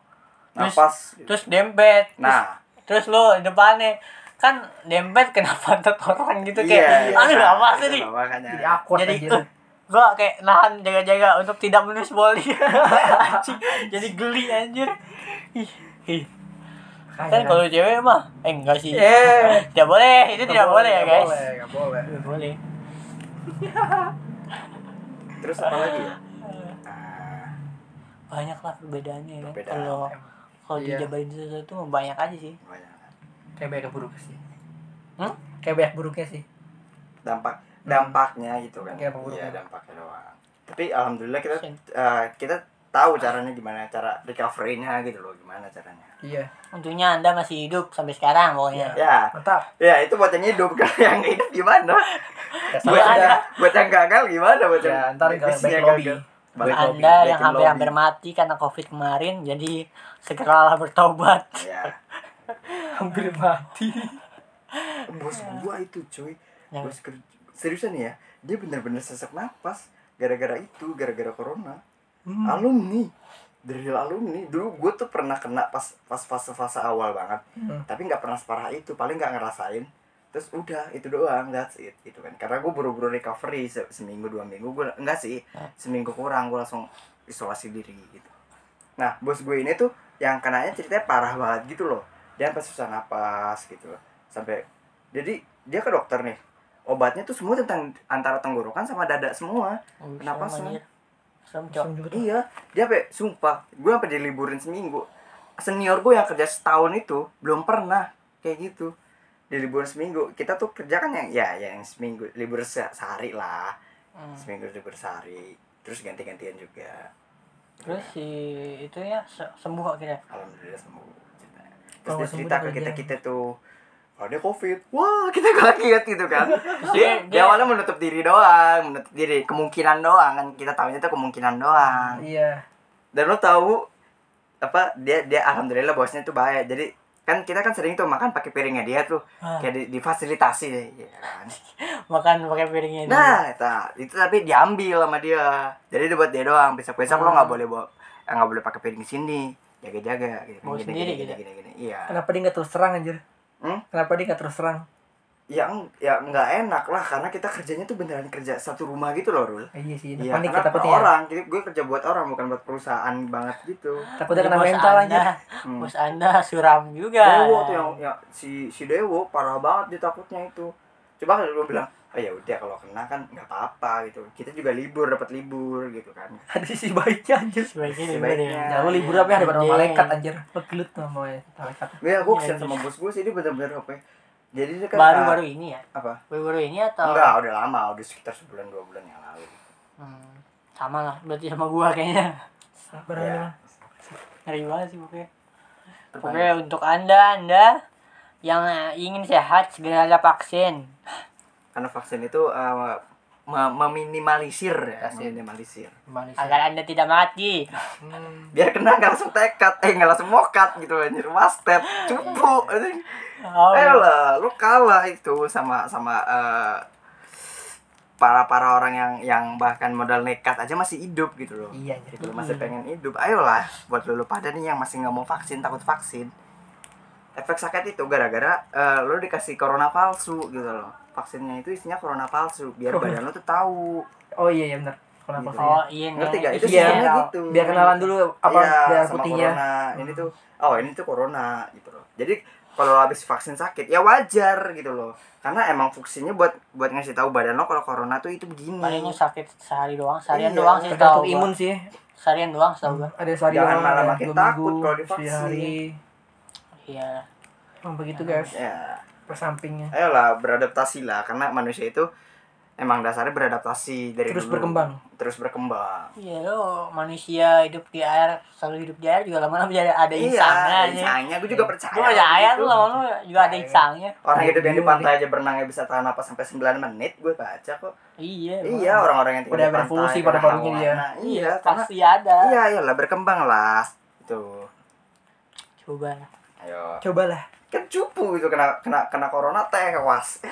Speaker 1: terus
Speaker 2: nafas
Speaker 1: terus dempet terus-
Speaker 2: nah
Speaker 1: terus, lo depannya kan dempet kenapa pantat orang gitu kayak
Speaker 2: iya,
Speaker 1: aduh
Speaker 2: nah,
Speaker 1: apa sih
Speaker 2: itu
Speaker 1: nih
Speaker 2: makanya.
Speaker 3: jadi awkward
Speaker 1: jadi
Speaker 3: aja
Speaker 1: eh, gua kayak nahan jaga-jaga untuk tidak menus boli Anjing, jadi geli anjir Ih, ih. kan kalau cewek mah eh enggak sih
Speaker 3: eh
Speaker 1: tidak boleh itu tidak boleh ya guys
Speaker 3: boleh nggak boleh
Speaker 1: Tidak boleh
Speaker 2: terus apa lagi ya Ah,
Speaker 1: banyak lah perbedaannya ya.
Speaker 2: Perbedaan,
Speaker 1: kalau kalau
Speaker 3: Iya.
Speaker 1: dijabarin sesuatu mah banyak aja sih
Speaker 2: banyak.
Speaker 3: kayak banyak buruknya sih
Speaker 1: Hmm?
Speaker 3: kayak banyak buruknya sih
Speaker 2: dampak dampaknya gitu kan
Speaker 3: Iya, buruknya.
Speaker 2: dampaknya doang tapi alhamdulillah kita
Speaker 1: Sen.
Speaker 2: eh, kita tahu caranya gimana cara recovery-nya gitu loh gimana caranya
Speaker 3: Iya.
Speaker 1: Untungnya Anda masih hidup sampai sekarang pokoknya.
Speaker 2: ya
Speaker 3: Mantap.
Speaker 2: ya itu buat yang hidup kalau yang hidup gimana buat
Speaker 1: Anda-
Speaker 2: yang, buat yang gagal gimana buat
Speaker 3: Ya,
Speaker 2: yang
Speaker 3: ntar gagal,
Speaker 2: bisnisnya
Speaker 3: back lobby.
Speaker 2: Balik lobby,
Speaker 1: Anda
Speaker 2: back
Speaker 1: yang
Speaker 2: in
Speaker 1: hampir-hampir
Speaker 2: lobby.
Speaker 1: mati karena Covid kemarin, jadi segeralah bertobat.
Speaker 2: ya
Speaker 3: Hampir mati.
Speaker 2: bos gua itu cuy
Speaker 1: Yang-
Speaker 2: bos kerja seriusan ya dia benar-benar sesak napas gara-gara itu gara-gara corona
Speaker 3: Hmm.
Speaker 2: alumni dari alumni dulu gue tuh pernah kena pas pas fase-fase awal banget
Speaker 3: Hmm.
Speaker 2: tapi nggak pernah separah itu paling nggak ngerasain terus udah itu doang that's it gitu kan karena gue buru-buru recovery se- seminggu dua minggu gue enggak sih seminggu kurang gue langsung isolasi diri gitu nah bos gue ini tuh yang kenanya ceritanya parah banget gitu loh dia sampai susah napas gitu loh sampai jadi dia ke dokter nih obatnya tuh semua tentang antara tenggorokan sama dada semua Kenapa, Sam?
Speaker 1: Serem, anjir. Serem, Cok.
Speaker 3: Langsung Oh, iya. juga tuh.
Speaker 2: iya dia sampai sumpah gue sampai diliburin seminggu senior gue yang kerja setahun itu belum pernah kayak gitu di liburan seminggu kita tuh kerja kan yang ya yang seminggu libur se- sehari lah
Speaker 1: Hmm.
Speaker 2: seminggu libur sehari terus ganti-gantian juga
Speaker 1: Terus si itu ya se- sembuh akhirnya.
Speaker 2: alhamdulillah sembuh ceritanya. terus
Speaker 3: Kalau
Speaker 2: dia
Speaker 3: sembuh
Speaker 2: cerita
Speaker 3: tuh
Speaker 2: ke
Speaker 3: kerja.
Speaker 2: kita kita tuh kalau dia covid wah kita kaget gitu kan dia,
Speaker 1: Dia-
Speaker 2: dia awalnya menutup diri doang menutup diri kemungkinan doang kan kita tahunya tuh kemungkinan doang
Speaker 3: Iya.
Speaker 2: dan lo tahu apa dia dia alhamdulillah bosnya tuh baik jadi kan kita kan sering tuh makan pakai piringnya dia tuh
Speaker 1: Ah.
Speaker 2: kayak di- difasilitasi ya kan
Speaker 1: Makan pakai piringnya dulu.
Speaker 2: nah ta- itu tapi diambil sama dia jadi itu buat dia doang besok besok lo nggak boleh bawa eh, nggak boleh pakai piring di sini jaga jaga gitu
Speaker 1: Bawa sendiri gitu.
Speaker 2: gini, gini. iya
Speaker 3: Kenapa dia nggak terus terang anjir?
Speaker 2: Hmm?
Speaker 3: Kenapa dia nggak terus terang?
Speaker 2: yang ya nggak enak lah karena kita kerjanya tuh beneran kerja satu rumah gitu loh rul
Speaker 3: Eh, iya sih.
Speaker 2: Iya,
Speaker 3: Panik
Speaker 2: karena
Speaker 3: kita
Speaker 2: per
Speaker 3: takutnya. ya.
Speaker 2: orang, jadi gue kerja buat orang bukan buat perusahaan banget gitu.
Speaker 3: Takutnya kena
Speaker 1: Bos
Speaker 3: mental
Speaker 1: Anda-
Speaker 3: anjir.
Speaker 2: Hmm.
Speaker 1: Bos Anda suram juga.
Speaker 2: Dewo tuh yang ya, si si Dewo parah banget dia takutnya itu. Coba kalau lu bilang, "Oh ya udah kalau kena kan nggak apa-apa gitu. Kita juga libur dapat libur gitu kan."
Speaker 3: Ada sisi baiknya anjir.
Speaker 1: sebaiknya Iya,
Speaker 2: Sebaiknya.
Speaker 1: diberi.
Speaker 3: Ya lu libur apa ya daripada
Speaker 1: Anjing.
Speaker 3: malaikat anjir. Pegelut sama malaikat.
Speaker 2: Ya gue
Speaker 1: Iya,
Speaker 2: kesian
Speaker 1: iya.
Speaker 2: sama bos gue sih dia bener-bener apa ya. Jadi dia kan
Speaker 1: Baru-baru ini ya?
Speaker 2: apa?
Speaker 1: Baru-baru ini atau?
Speaker 2: Enggak, udah lama, udah sekitar sebulan dua bulan yang lalu.
Speaker 1: Hmm, sama lah, berarti sama gua kayaknya.
Speaker 3: Sabar
Speaker 2: Ya.
Speaker 3: ya.
Speaker 1: Ngeri banget sih pokoknya. Pokoknya untuk anda, anda yang eh, ingin sehat segeralah vaksin.
Speaker 2: Karena vaksin itu eh, me- meminimalisir ya, minimalisir.
Speaker 1: agar anda tidak mati. Hmm.
Speaker 2: Biar kena nggak langsung tekad, eh nggak langsung mokat gitu anjir, wastet, cupu. anjing.
Speaker 1: Oh,
Speaker 3: iya.
Speaker 2: Eh lah, lu kalah itu sama sama eh, para para orang yang yang bahkan modal nekat aja masih hidup gitu loh.
Speaker 3: Iya anjir.
Speaker 2: Gitu, masih pengen hidup. Ayolah, buat lu, lu pada nih yang masih nggak mau vaksin takut vaksin. Efek sakit itu gara-gara eh, lu dikasih corona palsu gitu loh. Vaksinnya itu isinya corona palsu biar badan lu tuh tahu.
Speaker 3: Oh iya iya benar. Kenapa
Speaker 2: Gitu.
Speaker 3: saya?
Speaker 1: oh iya.
Speaker 2: Ngerti
Speaker 1: iya.
Speaker 2: gak? Itu
Speaker 3: Iya.
Speaker 2: sistemnya
Speaker 3: Tahu.
Speaker 2: gitu.
Speaker 3: Biar kenalan dulu apa
Speaker 2: Iya,
Speaker 3: darah
Speaker 2: sama
Speaker 3: putihnya.
Speaker 2: corona. Ini tuh oh ini tuh corona gitu loh. Jadi kalau lo habis vaksin sakit ya wajar gitu loh. Karena emang fungsinya buat buat ngasih tahu badan lo kalau corona tuh itu begini.
Speaker 1: Palingnya sakit sehari doang, seharian
Speaker 2: Hmm. Iya,
Speaker 1: doang sih
Speaker 3: Tergantung
Speaker 1: tahu.
Speaker 3: imun
Speaker 1: Imun.
Speaker 3: sih.
Speaker 1: Seharian doang tahu gua.
Speaker 3: Ada sehari
Speaker 2: Jangan
Speaker 3: doang,
Speaker 2: malah
Speaker 3: ada
Speaker 2: makin
Speaker 3: dua minggu,
Speaker 2: takut kalau
Speaker 3: sehari.
Speaker 2: divaksin. Hmm.
Speaker 1: Iya.
Speaker 3: Emang begitu guys.
Speaker 2: Ya,
Speaker 3: Persampingnya.
Speaker 2: ayolah beradaptasi lah karena manusia itu emang dasarnya beradaptasi dari Iya,
Speaker 3: Terus
Speaker 2: dulu.
Speaker 3: berkembang.
Speaker 2: Terus berkembang.
Speaker 1: Iya lo manusia hidup di air, selalu hidup di air juga lama-lama jadi ada
Speaker 2: ada
Speaker 1: insangnya. Iya,
Speaker 2: insangnya. Gue juga percaya.
Speaker 1: Gue percaya
Speaker 2: gitu.
Speaker 1: tuh lama-lama juga ada
Speaker 3: Iya.
Speaker 1: insangnya.
Speaker 2: Orang hidup yang di
Speaker 3: Bingung
Speaker 2: pantai aja berenangnya bisa tahan napas sampai 9 menit, gue baca kok.
Speaker 1: Iya.
Speaker 2: Iya, orang-orang yang tinggal
Speaker 3: Udah
Speaker 2: di pantai,
Speaker 3: berevolusi pada
Speaker 2: karena
Speaker 3: parunya dia.
Speaker 2: hawana. Iya,
Speaker 1: Iya,
Speaker 2: karena
Speaker 1: pasti ada.
Speaker 2: Iya, iyalah berkembang lah. Itu.
Speaker 1: Coba lah.
Speaker 2: Ayo.
Speaker 3: Cobalah.
Speaker 2: Kan cupu itu kena kena kena corona tewas.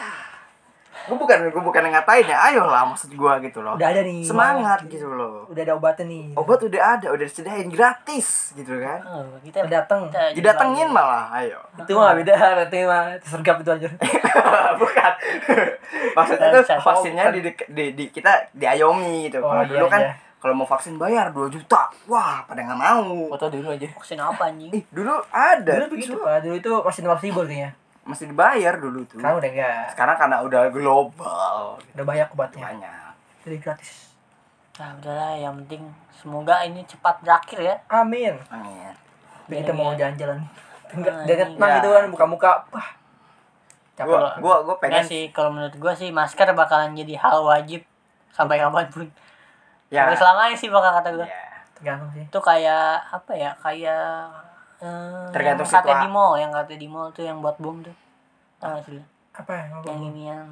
Speaker 2: Gue bukan gue bukan ngatain ya. Ayolah maksud gua gitu loh.
Speaker 3: Udah ada nih.
Speaker 2: Semangat gitu loh.
Speaker 3: Udah ada obatnya nih.
Speaker 2: Obat udah ada, udah disediain gratis gitu kan.
Speaker 1: Oh, kita
Speaker 3: Udah datang.
Speaker 1: kita
Speaker 2: Didatengin malah, ayo.
Speaker 3: Itu mah beda, berarti mah tersergap itu anjir.
Speaker 2: bukan. Maksudnya tuh
Speaker 1: Bisa.
Speaker 2: vaksinnya di, di, di- kita diayomi gitu.
Speaker 3: Oh,
Speaker 2: Kalau
Speaker 3: iya,
Speaker 2: dulu kan
Speaker 3: iya.
Speaker 2: kalau mau vaksin bayar 2 juta. Wah, pada nggak mau.
Speaker 1: foto dulu aja vaksin apa anjing
Speaker 2: Ih, dulu ada.
Speaker 3: Dulu begitu pak, dulu itu masih nomor ribu kayaknya.
Speaker 2: Masih dibayar dulu tuh.
Speaker 3: Sekarang udah Iya. enggak.
Speaker 2: sekarang karena udah global
Speaker 3: Udah banyak obatnya.
Speaker 2: banyak
Speaker 3: Jadi gratis.
Speaker 1: nah udahlah yang penting semoga ini cepat berakhir ya
Speaker 3: Amin.
Speaker 2: Amin.
Speaker 3: Biar kita mau jalan-jalan. Enggak,
Speaker 1: Ah,
Speaker 3: dengan tenang
Speaker 2: iya.
Speaker 3: gitu kan buka-muka. Wah. Capek
Speaker 2: gua
Speaker 3: banget.
Speaker 2: gua gua pengen
Speaker 1: enggak sih kalau menurut gua sih masker bakalan jadi hal wajib sampai kapanpun
Speaker 2: ya
Speaker 1: sampai selamanya sih bakal kata gua
Speaker 2: ya.
Speaker 3: tergantung sih
Speaker 1: itu kayak apa ya kayak eh,
Speaker 2: Tergantung
Speaker 1: yang katanya
Speaker 2: situa-
Speaker 1: di mall yang katanya di mall tuh yang buat bom tuh tau gak sih lu?
Speaker 3: apa ya, yang
Speaker 1: yang ini yang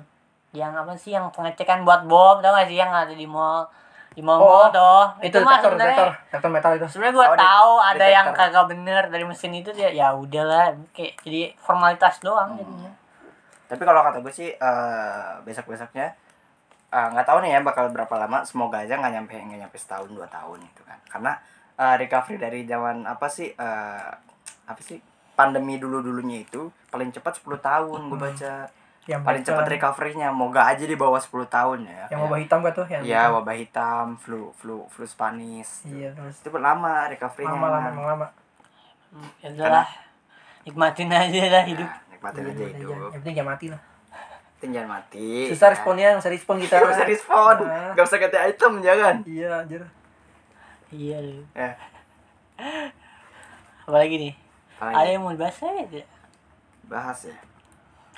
Speaker 1: yang apa sih yang pengecekan buat bom tau gak sih yang ada di mall di mall mall
Speaker 3: Oh,
Speaker 1: tuh
Speaker 3: itu detektor detektor detektor metal itu
Speaker 1: sebenarnya gue
Speaker 2: Oh, kan? det-
Speaker 1: tahu ada yang
Speaker 2: detektor.
Speaker 1: kagak bener dari mesin itu dia ya udahlah kayak jadi formalitas
Speaker 2: Hmm.
Speaker 1: doang jadinya
Speaker 2: tapi kalau kata gue sih eh, besok besoknya eh, nggak tahu nih ya bakal berapa lama semoga aja nggak nyampe nggak nyampe setahun dua tahun gitu kan karena eh, recovery dari zaman apa sih eh, apa sih pandemi dulu dulunya itu paling cepat 10 tahun gue baca
Speaker 3: yang
Speaker 2: paling
Speaker 3: bukan-
Speaker 2: cepat recovery-nya moga aja di bawah 10 tahun ya
Speaker 3: yang wabah hitam gak tuh yang
Speaker 2: ya wabah hitam flu flu flu Spanish
Speaker 3: iya terus
Speaker 2: itu lama recovery-nya Nah,
Speaker 3: lama lama emang lama
Speaker 1: Hmm, ya udahlah nikmatin aja lah hidup
Speaker 2: Nah, nikmatin aja
Speaker 3: Iya, iya, iya.
Speaker 2: hidup
Speaker 3: yang penting jangan mati lah
Speaker 2: tinggal mati
Speaker 3: susah
Speaker 2: ya.
Speaker 3: responnya nggak usah respon kita
Speaker 2: Gak usah respon,
Speaker 3: Nah.
Speaker 2: gak usah ganti item ya kan? jangan.
Speaker 3: iya anjir
Speaker 1: iya lu
Speaker 2: Eh,
Speaker 1: apalagi nih
Speaker 2: apalagi?
Speaker 1: ada yang mau dibahas aja tidak?
Speaker 2: bahas ya.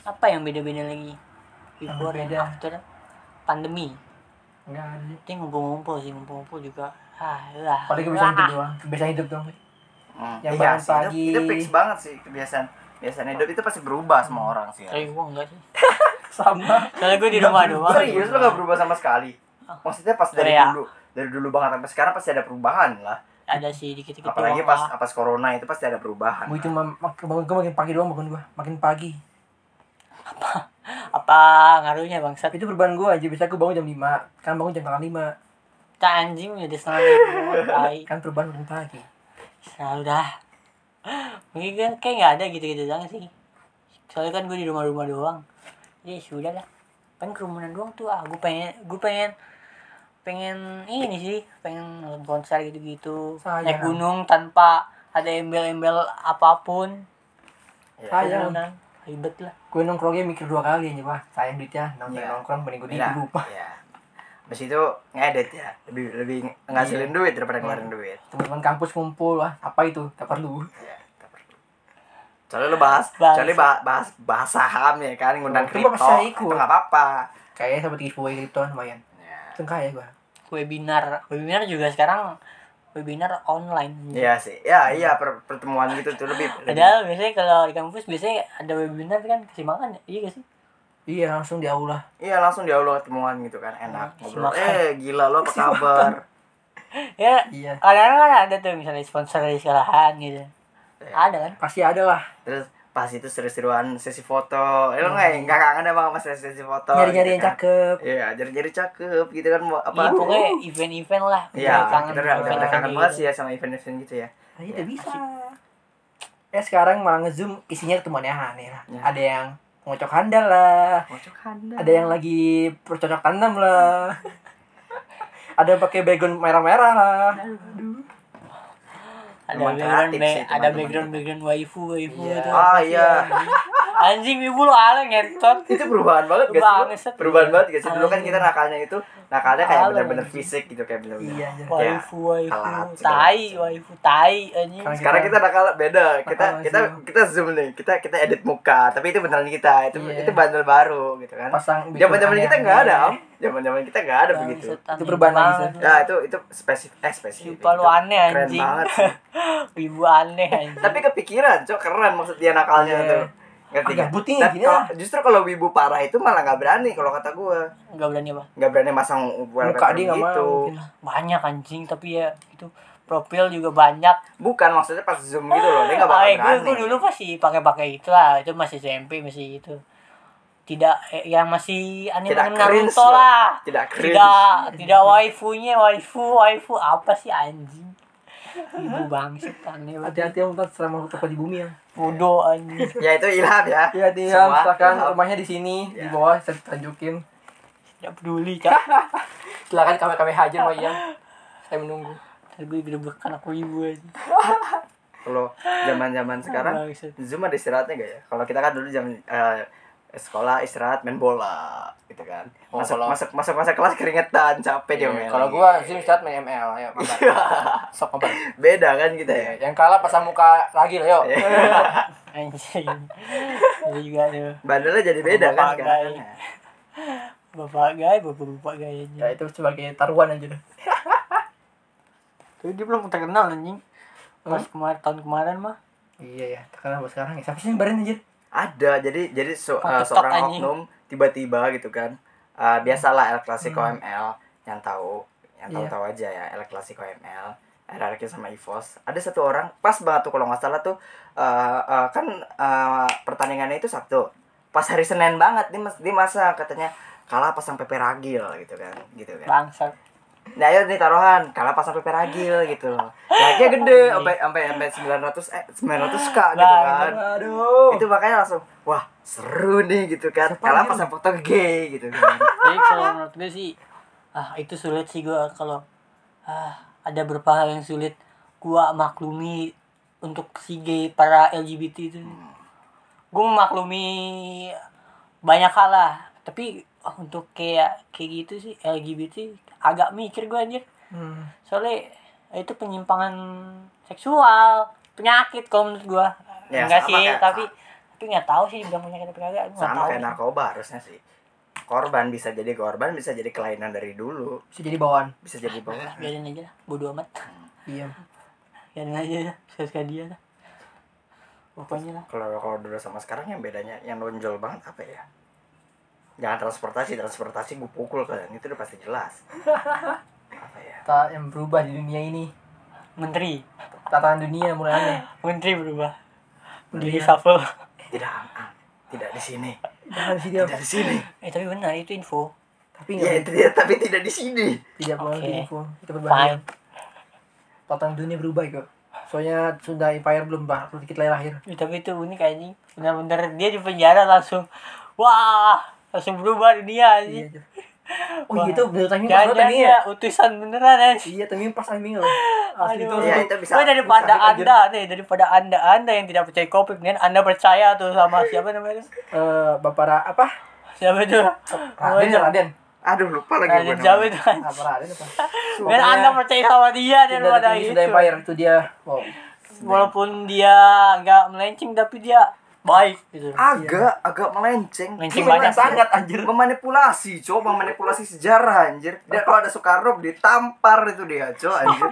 Speaker 1: apa yang beda-beda lagi before dan
Speaker 3: beda.
Speaker 1: after pandemi
Speaker 3: nggak ada sih.
Speaker 1: itu ngumpul-ngumpul sih ngumpul-ngumpul juga ah lah
Speaker 2: Oh,
Speaker 3: paling kebiasaan hidup doang kebiasaan hidup doang
Speaker 2: Hmm. iya
Speaker 3: Yang bangun
Speaker 2: sih, itu-
Speaker 3: pagi.
Speaker 2: Itu, fix banget sih kebiasaan. Kebiasaan hidup itu pasti berubah semua orang sih. ya.
Speaker 1: tapi gue enggak sih
Speaker 3: sama
Speaker 1: soalnya gue di rumah doang
Speaker 2: Serius lo gak berubah sama sekali? Maksudnya pas dari
Speaker 1: Iya.
Speaker 2: dulu, dari dulu banget sampai sekarang pasti ada perubahan lah.
Speaker 1: ada sih dikit-dikit
Speaker 2: Apalagi
Speaker 1: doang
Speaker 2: pas
Speaker 1: Gitu lah.
Speaker 2: pas corona itu pasti ada perubahan.
Speaker 3: gue cuma mak- bangun gue makin pagi doang bangun gue makin pagi
Speaker 1: apa apa ngaruhnya bangsat
Speaker 3: itu perubahan gue aja bisa gue bangun jam 5 kan bangun jam tengah 5
Speaker 1: kita anjing ya, udah setengah minggu tai.
Speaker 3: kan perubahan makin pagi
Speaker 1: selalu dah mungkin kan kayak nggak ada gitu-gitu doang sih soalnya kan gue di rumah-rumah doang jadi sudah lah kan kerumunan doang tuh ah gue pengen gue pengen pengen ini sih pengen nonton konser gitu-gitu
Speaker 3: Sayang.
Speaker 1: naik gunung tanpa ada embel-embel apapun
Speaker 2: Ya.
Speaker 3: Sayang.
Speaker 1: kerumunan ribet lah
Speaker 3: gue nongkrongnya mikir dua kali aja wah sayang duitnya nongkrong
Speaker 2: Iya.
Speaker 3: nongkrong mending gue
Speaker 2: Beda.
Speaker 3: tidur lupa
Speaker 2: Iya. Abis itu ngedit ya, lebih lebih ngasilin duit daripada ngeluarin duit.
Speaker 3: teman-teman kampus ngumpul wah apa itu tak perlu
Speaker 2: Iya, tak perlu. Soalnya lo bahas,
Speaker 1: Bahas.
Speaker 2: soalnya bah- bahas bahas saham ya kan, ngundang
Speaker 3: Itu
Speaker 2: kripto,
Speaker 3: bahas saya ikut.
Speaker 2: itu nggak apa-apa.
Speaker 3: kayaknya sampai giveaway gitu lumayan
Speaker 2: Ya.
Speaker 3: itu kaya gue
Speaker 1: webinar webinar juga sekarang webinar online
Speaker 2: Iya sih, ya iya per- pertemuan gitu tuh lebih. lebih.
Speaker 1: Hmm. padahal biasanya kalau di kampus biasanya ada webinar kan kasih makan ya? iya gak sih
Speaker 3: iya langsung di aula
Speaker 2: Iya langsung di Allah temuan gitu kan, enak.
Speaker 1: Hmm,
Speaker 2: Ngobrol,
Speaker 1: silakan.
Speaker 2: eh gila lo apa kabar?
Speaker 1: ya
Speaker 3: iya
Speaker 1: kadang-kadang kan ada tuh misalnya sponsor dari sekolahan gitu ada kan
Speaker 3: pasti ada lah
Speaker 2: Terus pas itu seru-seruan sesi foto,
Speaker 1: Hmm.
Speaker 2: eh, lo nggak nggak kangen emang sama sesi sesi foto?
Speaker 3: nyari-nyari
Speaker 2: gitu
Speaker 3: yang
Speaker 2: kan.
Speaker 3: cakep
Speaker 2: Iya, nyari-nyari cakep gitu kan mau
Speaker 1: Iya
Speaker 2: apa?
Speaker 1: pokoknya event-event lah
Speaker 2: Iya,
Speaker 1: Udah kangen
Speaker 2: kita udah udah- udah
Speaker 1: event-event
Speaker 2: kangen
Speaker 1: gitu.
Speaker 2: banget sih ya sama event-event gitu ya.
Speaker 3: aja udah Ah, iya, bisa eh sekarang malah ngezoom isinya ketemuannya aneh lah
Speaker 2: Ya.
Speaker 3: ada yang ngocok handal lah
Speaker 2: Kocok handal.
Speaker 3: ada yang lagi bercocok tanam lah ada yang pakai background merah-merah lah
Speaker 1: ada
Speaker 2: Emang
Speaker 1: background
Speaker 2: kreatif
Speaker 1: ba-
Speaker 2: sih
Speaker 1: ada
Speaker 2: teman-teman
Speaker 1: background
Speaker 2: kita.
Speaker 1: background waifu waifu
Speaker 3: Iya.
Speaker 1: gitu.
Speaker 2: Ah iya,
Speaker 1: anjing ibu lo ala ngentot
Speaker 2: itu perubahan banget gak
Speaker 1: Banget,
Speaker 2: sih?
Speaker 1: set.
Speaker 2: Lu? Perubahan banget gak sih? Dulu kan kita nakalnya itu nakalnya kayak
Speaker 1: Alam,
Speaker 2: bener-bener
Speaker 1: anjing.
Speaker 2: fisik gitu kayak bener-bener.
Speaker 3: iya anjir.
Speaker 2: Iya.
Speaker 1: waifu waifu
Speaker 2: Alat, segala
Speaker 1: tai
Speaker 2: macam.
Speaker 1: waifu tai anjing
Speaker 3: Kangen.
Speaker 2: sekarang Kan kita nakal beda kita
Speaker 3: Nakal
Speaker 2: kita
Speaker 3: Iya. zoom.
Speaker 2: kita zoom nih kita kita edit muka tapi itu beneran kita itu
Speaker 3: Iya.
Speaker 2: itu bandel baru gitu kan
Speaker 3: pasang
Speaker 2: zaman zaman
Speaker 3: background
Speaker 2: kita
Speaker 3: aneh-aneh.
Speaker 2: nggak ada om zaman zaman kita nggak ada begitu
Speaker 1: Bangsat, aneh
Speaker 3: Itu perubahan lagi,
Speaker 1: banget.
Speaker 3: Seth.
Speaker 2: nah itu itu spesifik eh spesifik
Speaker 1: Sumpah lu
Speaker 2: Itu
Speaker 1: aneh
Speaker 2: keren
Speaker 1: anjing
Speaker 2: banget sih.
Speaker 1: Ibu aneh anjing
Speaker 2: tapi kepikiran cok keren maksud dia nakalnya
Speaker 3: Iya.
Speaker 2: tuh ngerti
Speaker 3: Agak
Speaker 2: gak?
Speaker 3: putih,
Speaker 2: Nah,
Speaker 3: gini
Speaker 2: kalau-
Speaker 3: lah.
Speaker 2: justru kalau wibu parah itu malah nggak berani kalau kata gue
Speaker 1: Gak berani apa
Speaker 2: nggak berani masang wallpaper
Speaker 3: muka dia nggak
Speaker 2: gitu.
Speaker 3: mau mungkin.
Speaker 1: Banyak anjing tapi ya itu Profil juga banyak
Speaker 2: bukan maksudnya pas zoom gitu loh dia nggak bakal
Speaker 1: Ah, eh, gue,
Speaker 2: berani
Speaker 1: gue dulu pasti pakai-pakai itu lah, itu masih SMP masih itu. Tidak eh, yang masih anime
Speaker 2: Tidak cringe
Speaker 1: Naruto lah.
Speaker 2: tidak cringe
Speaker 1: Tidak tidak waifunya, waifu, waifu apa sih anjing? Ibu bangsit aneh banget.
Speaker 3: hati-hati om ntar selama lu tepat di bumi ya
Speaker 1: Bodoh anjing.
Speaker 2: ya itu ilham ya
Speaker 3: Iya hati ya,
Speaker 2: Semua
Speaker 3: silakan
Speaker 2: ilham.
Speaker 3: rumahnya di sini, di
Speaker 2: Iya.
Speaker 3: bawah saya tunjukin.
Speaker 1: Tidak peduli, Kak.
Speaker 3: Silakan kami kami hajar mau iya. Saya menunggu.
Speaker 1: Ntar gue gerebekan aku ibu anjing.
Speaker 2: kalau zaman zaman sekarang
Speaker 1: Bangsat.
Speaker 2: zoom ada istirahatnya gak ya kalau kita kan dulu jam eh, sekolah istirahat main bola gitu kan
Speaker 4: Oh,
Speaker 2: masuk,
Speaker 4: kalau- Iya,
Speaker 2: masuk masuk masuk kelas keringetan capek dia
Speaker 3: Iya,
Speaker 2: main
Speaker 4: Kalau
Speaker 2: lagi.
Speaker 4: gua sih istirahat main ML, ayo mabar. Sok mabar.
Speaker 3: Iya.
Speaker 2: beda kan kita ya
Speaker 4: Yang kalah pasang muka lagi loh, yuk.
Speaker 1: Anjing. Itu juga tuh.
Speaker 2: bandelnya jadi beda
Speaker 1: Bapak
Speaker 2: kan sekarang
Speaker 1: gay. Bapak gay, bapak-bapak gay
Speaker 3: Ya
Speaker 1: aja.
Speaker 3: itu sebagai taruhan aja deh.
Speaker 1: Terus dia belum terkenal anjing pas
Speaker 3: Hmm?
Speaker 1: kemarin tahun kemarin mah
Speaker 3: Iya ya, terkenal buat sekarang ya. Siapa sih yang nyebarin anjir?
Speaker 2: ada jadi jadi so-
Speaker 1: Pakai
Speaker 2: eh,
Speaker 1: tok
Speaker 2: seorang
Speaker 1: anjing.
Speaker 2: oknum tiba-tiba gitu kan Eh, biasalah El Clasico ML yang tahu yang
Speaker 3: Iya.
Speaker 2: tahu-tahu aja ya El Clasico ML RRQ sama Evos ada satu orang pas banget tuh kalau nggak salah tuh eh, eh, kan eh, pertandingannya itu Sabtu pas hari Senin banget dia, mas- dia masa katanya kalah pasang PP ragil gitu kan gitu kan
Speaker 1: bangsat
Speaker 2: Nah, ayo nih taruhan, kalah pasang PP ragil gitu loh. Lagi gede sampai sampai sampai 900 eh 900 k gitu kan.
Speaker 3: Aduh.
Speaker 2: Itu makanya langsung wah, seru nih gitu kan. Kalah
Speaker 3: anjing?
Speaker 2: pasang foto gay gitu kan.
Speaker 1: jadi kalau menurut gue sih ah itu sulit sih gue kalau ah, ada beberapa hal yang sulit gue maklumi untuk si gay para LGBT itu gue memaklumi banyak hal lah tapi untuk kayak kayak gitu sih LGBT agak mikir gue anjir
Speaker 3: Hmm.
Speaker 1: soalnya itu penyimpangan seksual penyakit kalau menurut gua
Speaker 2: Ya,
Speaker 1: enggak sih
Speaker 2: sama kayak-
Speaker 1: tapi tapi nggak tahu sih bilang penyakit apa kagak gua nggak
Speaker 2: Sama
Speaker 1: tahu
Speaker 2: kayak narkoba harusnya sih. Korban bisa jadi korban, bisa jadi kelainan dari dulu,
Speaker 3: Bisa jadi bawaan.
Speaker 2: bisa jadi
Speaker 1: Lah,
Speaker 2: bawaan.
Speaker 1: biarin aja lah bodo amat
Speaker 3: Iya.
Speaker 1: biarin Ya, aja lah suka dia lah pokoknya lah
Speaker 2: Kalau kalau dulu sama sekarang yang bedanya yang nonjol banget apa ya? Jangan transportasi, transportasi gue pukul kalian itu udah pasti jelas. apa ya?
Speaker 3: Tata yang berubah di dunia ini.
Speaker 1: menteri
Speaker 3: Tataan dunia mulai aneh.
Speaker 1: menteri berubah di
Speaker 3: Iya.
Speaker 1: reshuffle
Speaker 2: Tidak, ah, tidak di sini,
Speaker 3: Jangan sih dia.
Speaker 2: tidak di sini.
Speaker 1: eh tapi benar itu info
Speaker 3: Tapi
Speaker 2: Ya,
Speaker 4: Iya.
Speaker 3: nggak
Speaker 2: tidak, tapi tidak di sini.
Speaker 3: tidak boleh
Speaker 1: Oke.
Speaker 3: di info. Itu berbahaya.
Speaker 1: fine
Speaker 3: Tataan dunia berubah kok. Soalnya Sunda Empire belum bah, belum dikit lagi lahir.
Speaker 1: Eh, tapi itu unik anjing benar-benar dia di penjara langsung wah langsung berubah dunia anjing
Speaker 3: Iya. Oh iya itu bener timing pas
Speaker 1: jangan
Speaker 3: banget timingnya.
Speaker 1: jangan utusan beneran anjing
Speaker 3: Iya timing pas timing loh. Asli itu.
Speaker 1: Aduh. Iya,
Speaker 2: Ya, itu bisa-
Speaker 1: Wah, daripada
Speaker 2: bisa
Speaker 3: dikejut.
Speaker 1: anda nih, daripada anda anda yang tidak percaya Kopik nih, anda percaya tuh sama siapa namanya? tuh?
Speaker 3: Eh Bapak Ra- apa?
Speaker 1: Siapa itu? Nah,
Speaker 3: Raden ya Raden.
Speaker 2: Aduh lupa lagi
Speaker 1: Raden
Speaker 2: gue
Speaker 1: siapa
Speaker 2: namanya.
Speaker 1: itu?
Speaker 3: Apa Raden apa?
Speaker 1: Dan anda percaya sama dia
Speaker 3: Tidak
Speaker 1: daripada
Speaker 3: ada
Speaker 1: itu.
Speaker 3: Sunda Empire itu dia. Wow.
Speaker 1: Walaupun dia nggak melenceng tapi dia baik gitu.
Speaker 2: Agak agak melenceng.
Speaker 1: Melenceng
Speaker 2: Gimana
Speaker 1: banyak
Speaker 2: sih?
Speaker 3: sangat, anjir.
Speaker 2: Memanipulasi, coba memanipulasi sejarah anjir. Dia kalau ada Soekarno ditampar itu dia, cow anjir.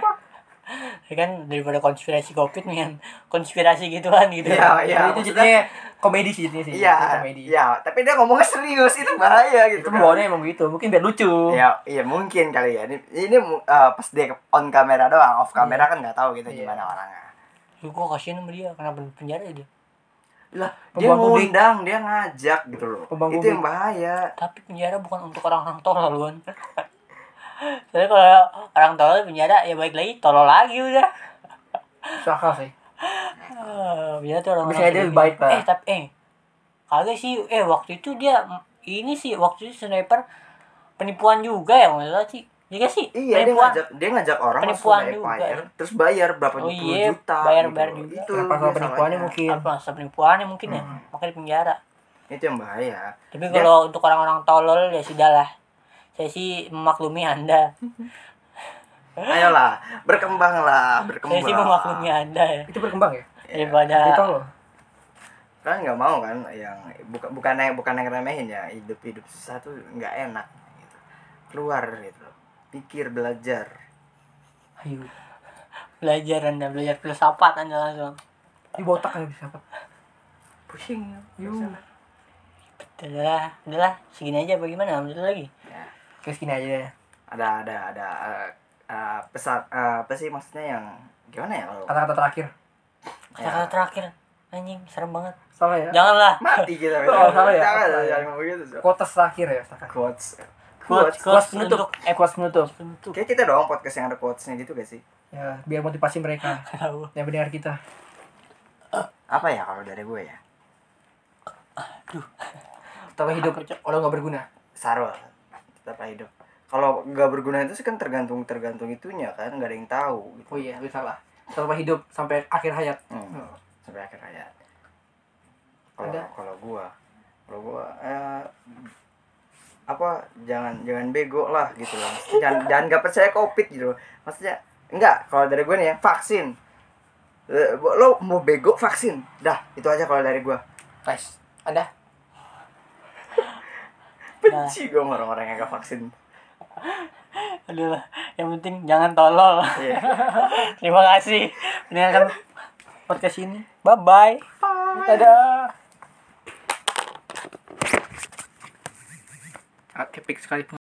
Speaker 1: Ya kan daripada konspirasi Covid nih kan, konspirasi gituan gitu.
Speaker 2: Iya, iya.
Speaker 3: Jadi itu
Speaker 2: maksudnya-
Speaker 3: jadinya komedi sih jadinya sih.
Speaker 2: Iya,
Speaker 3: Itu komedi.
Speaker 2: iya, tapi dia ngomongnya serius itu bahaya gitu.
Speaker 3: Itu
Speaker 2: kan.
Speaker 3: bawaannya emang begitu, mungkin biar lucu.
Speaker 2: Ya, iya mungkin kali ya. Ini, ini eh, pas dia on kamera doang, off kamera kan nggak tahu gitu
Speaker 3: Iya.
Speaker 2: gimana orangnya.
Speaker 1: Lu kok kasihan sama dia, kenapa di penjara dia?
Speaker 2: Lah, dia
Speaker 3: Pembuang publik.
Speaker 2: ngundang, dia ngajak gitu loh.
Speaker 3: Pembuang
Speaker 2: itu
Speaker 3: publik.
Speaker 2: yang bahaya.
Speaker 1: Tapi penjara bukan untuk orang-orang tolol kan. Soalnya kalau orang tolol di penjara ya baik lagi tolol lagi udah.
Speaker 3: Masuk akal sih.
Speaker 1: Ah, Biar tuh orang
Speaker 3: Bisa aja lebih baik, Pak.
Speaker 1: Eh tapi eh kagak sih eh waktu itu dia ini sih waktu itu sniper penipuan juga ya maksudnya sih. Iya sih.
Speaker 2: Iya, dia
Speaker 1: penipuan.
Speaker 2: ngajak dia ngajak orang masuk
Speaker 1: Penipuan
Speaker 2: ke
Speaker 1: juga. ya.
Speaker 2: Empire, terus bayar berapa
Speaker 1: Oh
Speaker 2: puluh
Speaker 1: iya,
Speaker 2: juta
Speaker 1: bayar-bayar
Speaker 2: gitu.
Speaker 1: juga.
Speaker 2: Itu
Speaker 3: Karena pasal
Speaker 2: masalahnya.
Speaker 3: penipuannya mungkin.
Speaker 1: Apa masa penipuannya mungkin ya?
Speaker 3: Hmm.
Speaker 1: Makanya di penjara.
Speaker 2: Itu yang bahaya.
Speaker 1: Tapi
Speaker 2: Dia-
Speaker 1: kalau untuk orang-orang tolol ya sudahlah. Saya sih memaklumi Anda.
Speaker 2: Ayolah, berkembanglah,
Speaker 1: Saya
Speaker 2: berkembang. Iya.
Speaker 1: sih memaklumi Anda ya.
Speaker 3: Itu berkembang ya? Itu
Speaker 1: Daripada
Speaker 3: loh.
Speaker 2: Kan nggak mau kan yang bukan bukan yang bukan yang remehin ya, hidup-hidup susah tuh nggak enak gitu. Keluar gitu. loh. Pikir belajar.
Speaker 3: Ayo.
Speaker 1: belajar Anda, belajar filsafat Anda langsung.
Speaker 3: Di botak kan bisa apa?
Speaker 2: Pusing. ya,
Speaker 3: Yuk.
Speaker 1: Udahlah, udahlah, segini aja bagaimana? Alhamdulillah lagi.
Speaker 2: Ya.
Speaker 3: Kayak gini aja ya.
Speaker 2: Ada ada ada eh, eh, pesan eh, apa sih maksudnya yang gimana ya kalau ya.
Speaker 3: Kata-kata terakhir.
Speaker 2: Iya.
Speaker 1: Kata-kata terakhir anjing serem banget.
Speaker 3: Salah ya?
Speaker 1: Janganlah.
Speaker 2: mati kita
Speaker 3: Oh, salah ya?
Speaker 2: jangan
Speaker 3: Salah ya.
Speaker 2: jangan ngomong gitu so.
Speaker 3: Quotes terakhir ya. Saka.
Speaker 2: quotes
Speaker 1: Quotes,
Speaker 2: quotes
Speaker 3: Quotes
Speaker 1: quotes
Speaker 3: penutup.
Speaker 1: untuk
Speaker 3: Eh, quotes penutup.
Speaker 1: penutup.
Speaker 2: Kayak kita doang podcast yang ada quotesnya gitu gak sih?
Speaker 3: Ya, biar motivasi mereka
Speaker 1: Tahu.
Speaker 3: yang mendengar kita.
Speaker 2: Apa ya kalau dari gue ya?
Speaker 3: Tahu hidup orang nggak berguna.
Speaker 2: Sarul Tetap aja hidup Kalau gak berguna itu sih kan tergantung tergantung itunya kan Gak ada yang tahu gitu.
Speaker 3: Oh iya, gue salah. Selama hidup sampai akhir hayat.
Speaker 2: Hmm. Sampai akhir hayat Kalau
Speaker 3: Ada?
Speaker 2: kalau gue Kalau gue eh, Apa Jangan jangan bego lah gitu loh Maksudnya Jangan, jangan gak percaya covid gitu loh Maksudnya Enggak Kalau dari gue nih ya Vaksin Eh, Lo mau bego vaksin Dah itu aja kalau dari gue
Speaker 4: Nice. Anda?
Speaker 2: Nah, Benci gue sama orang-orang yang gak vaksin
Speaker 1: Adalah yang penting jangan tolol.
Speaker 2: Iya.
Speaker 1: Terima kasih mendengarkan podcast ini. Bye bye.
Speaker 3: Dadah.
Speaker 1: Sangat Ah, epic sekali.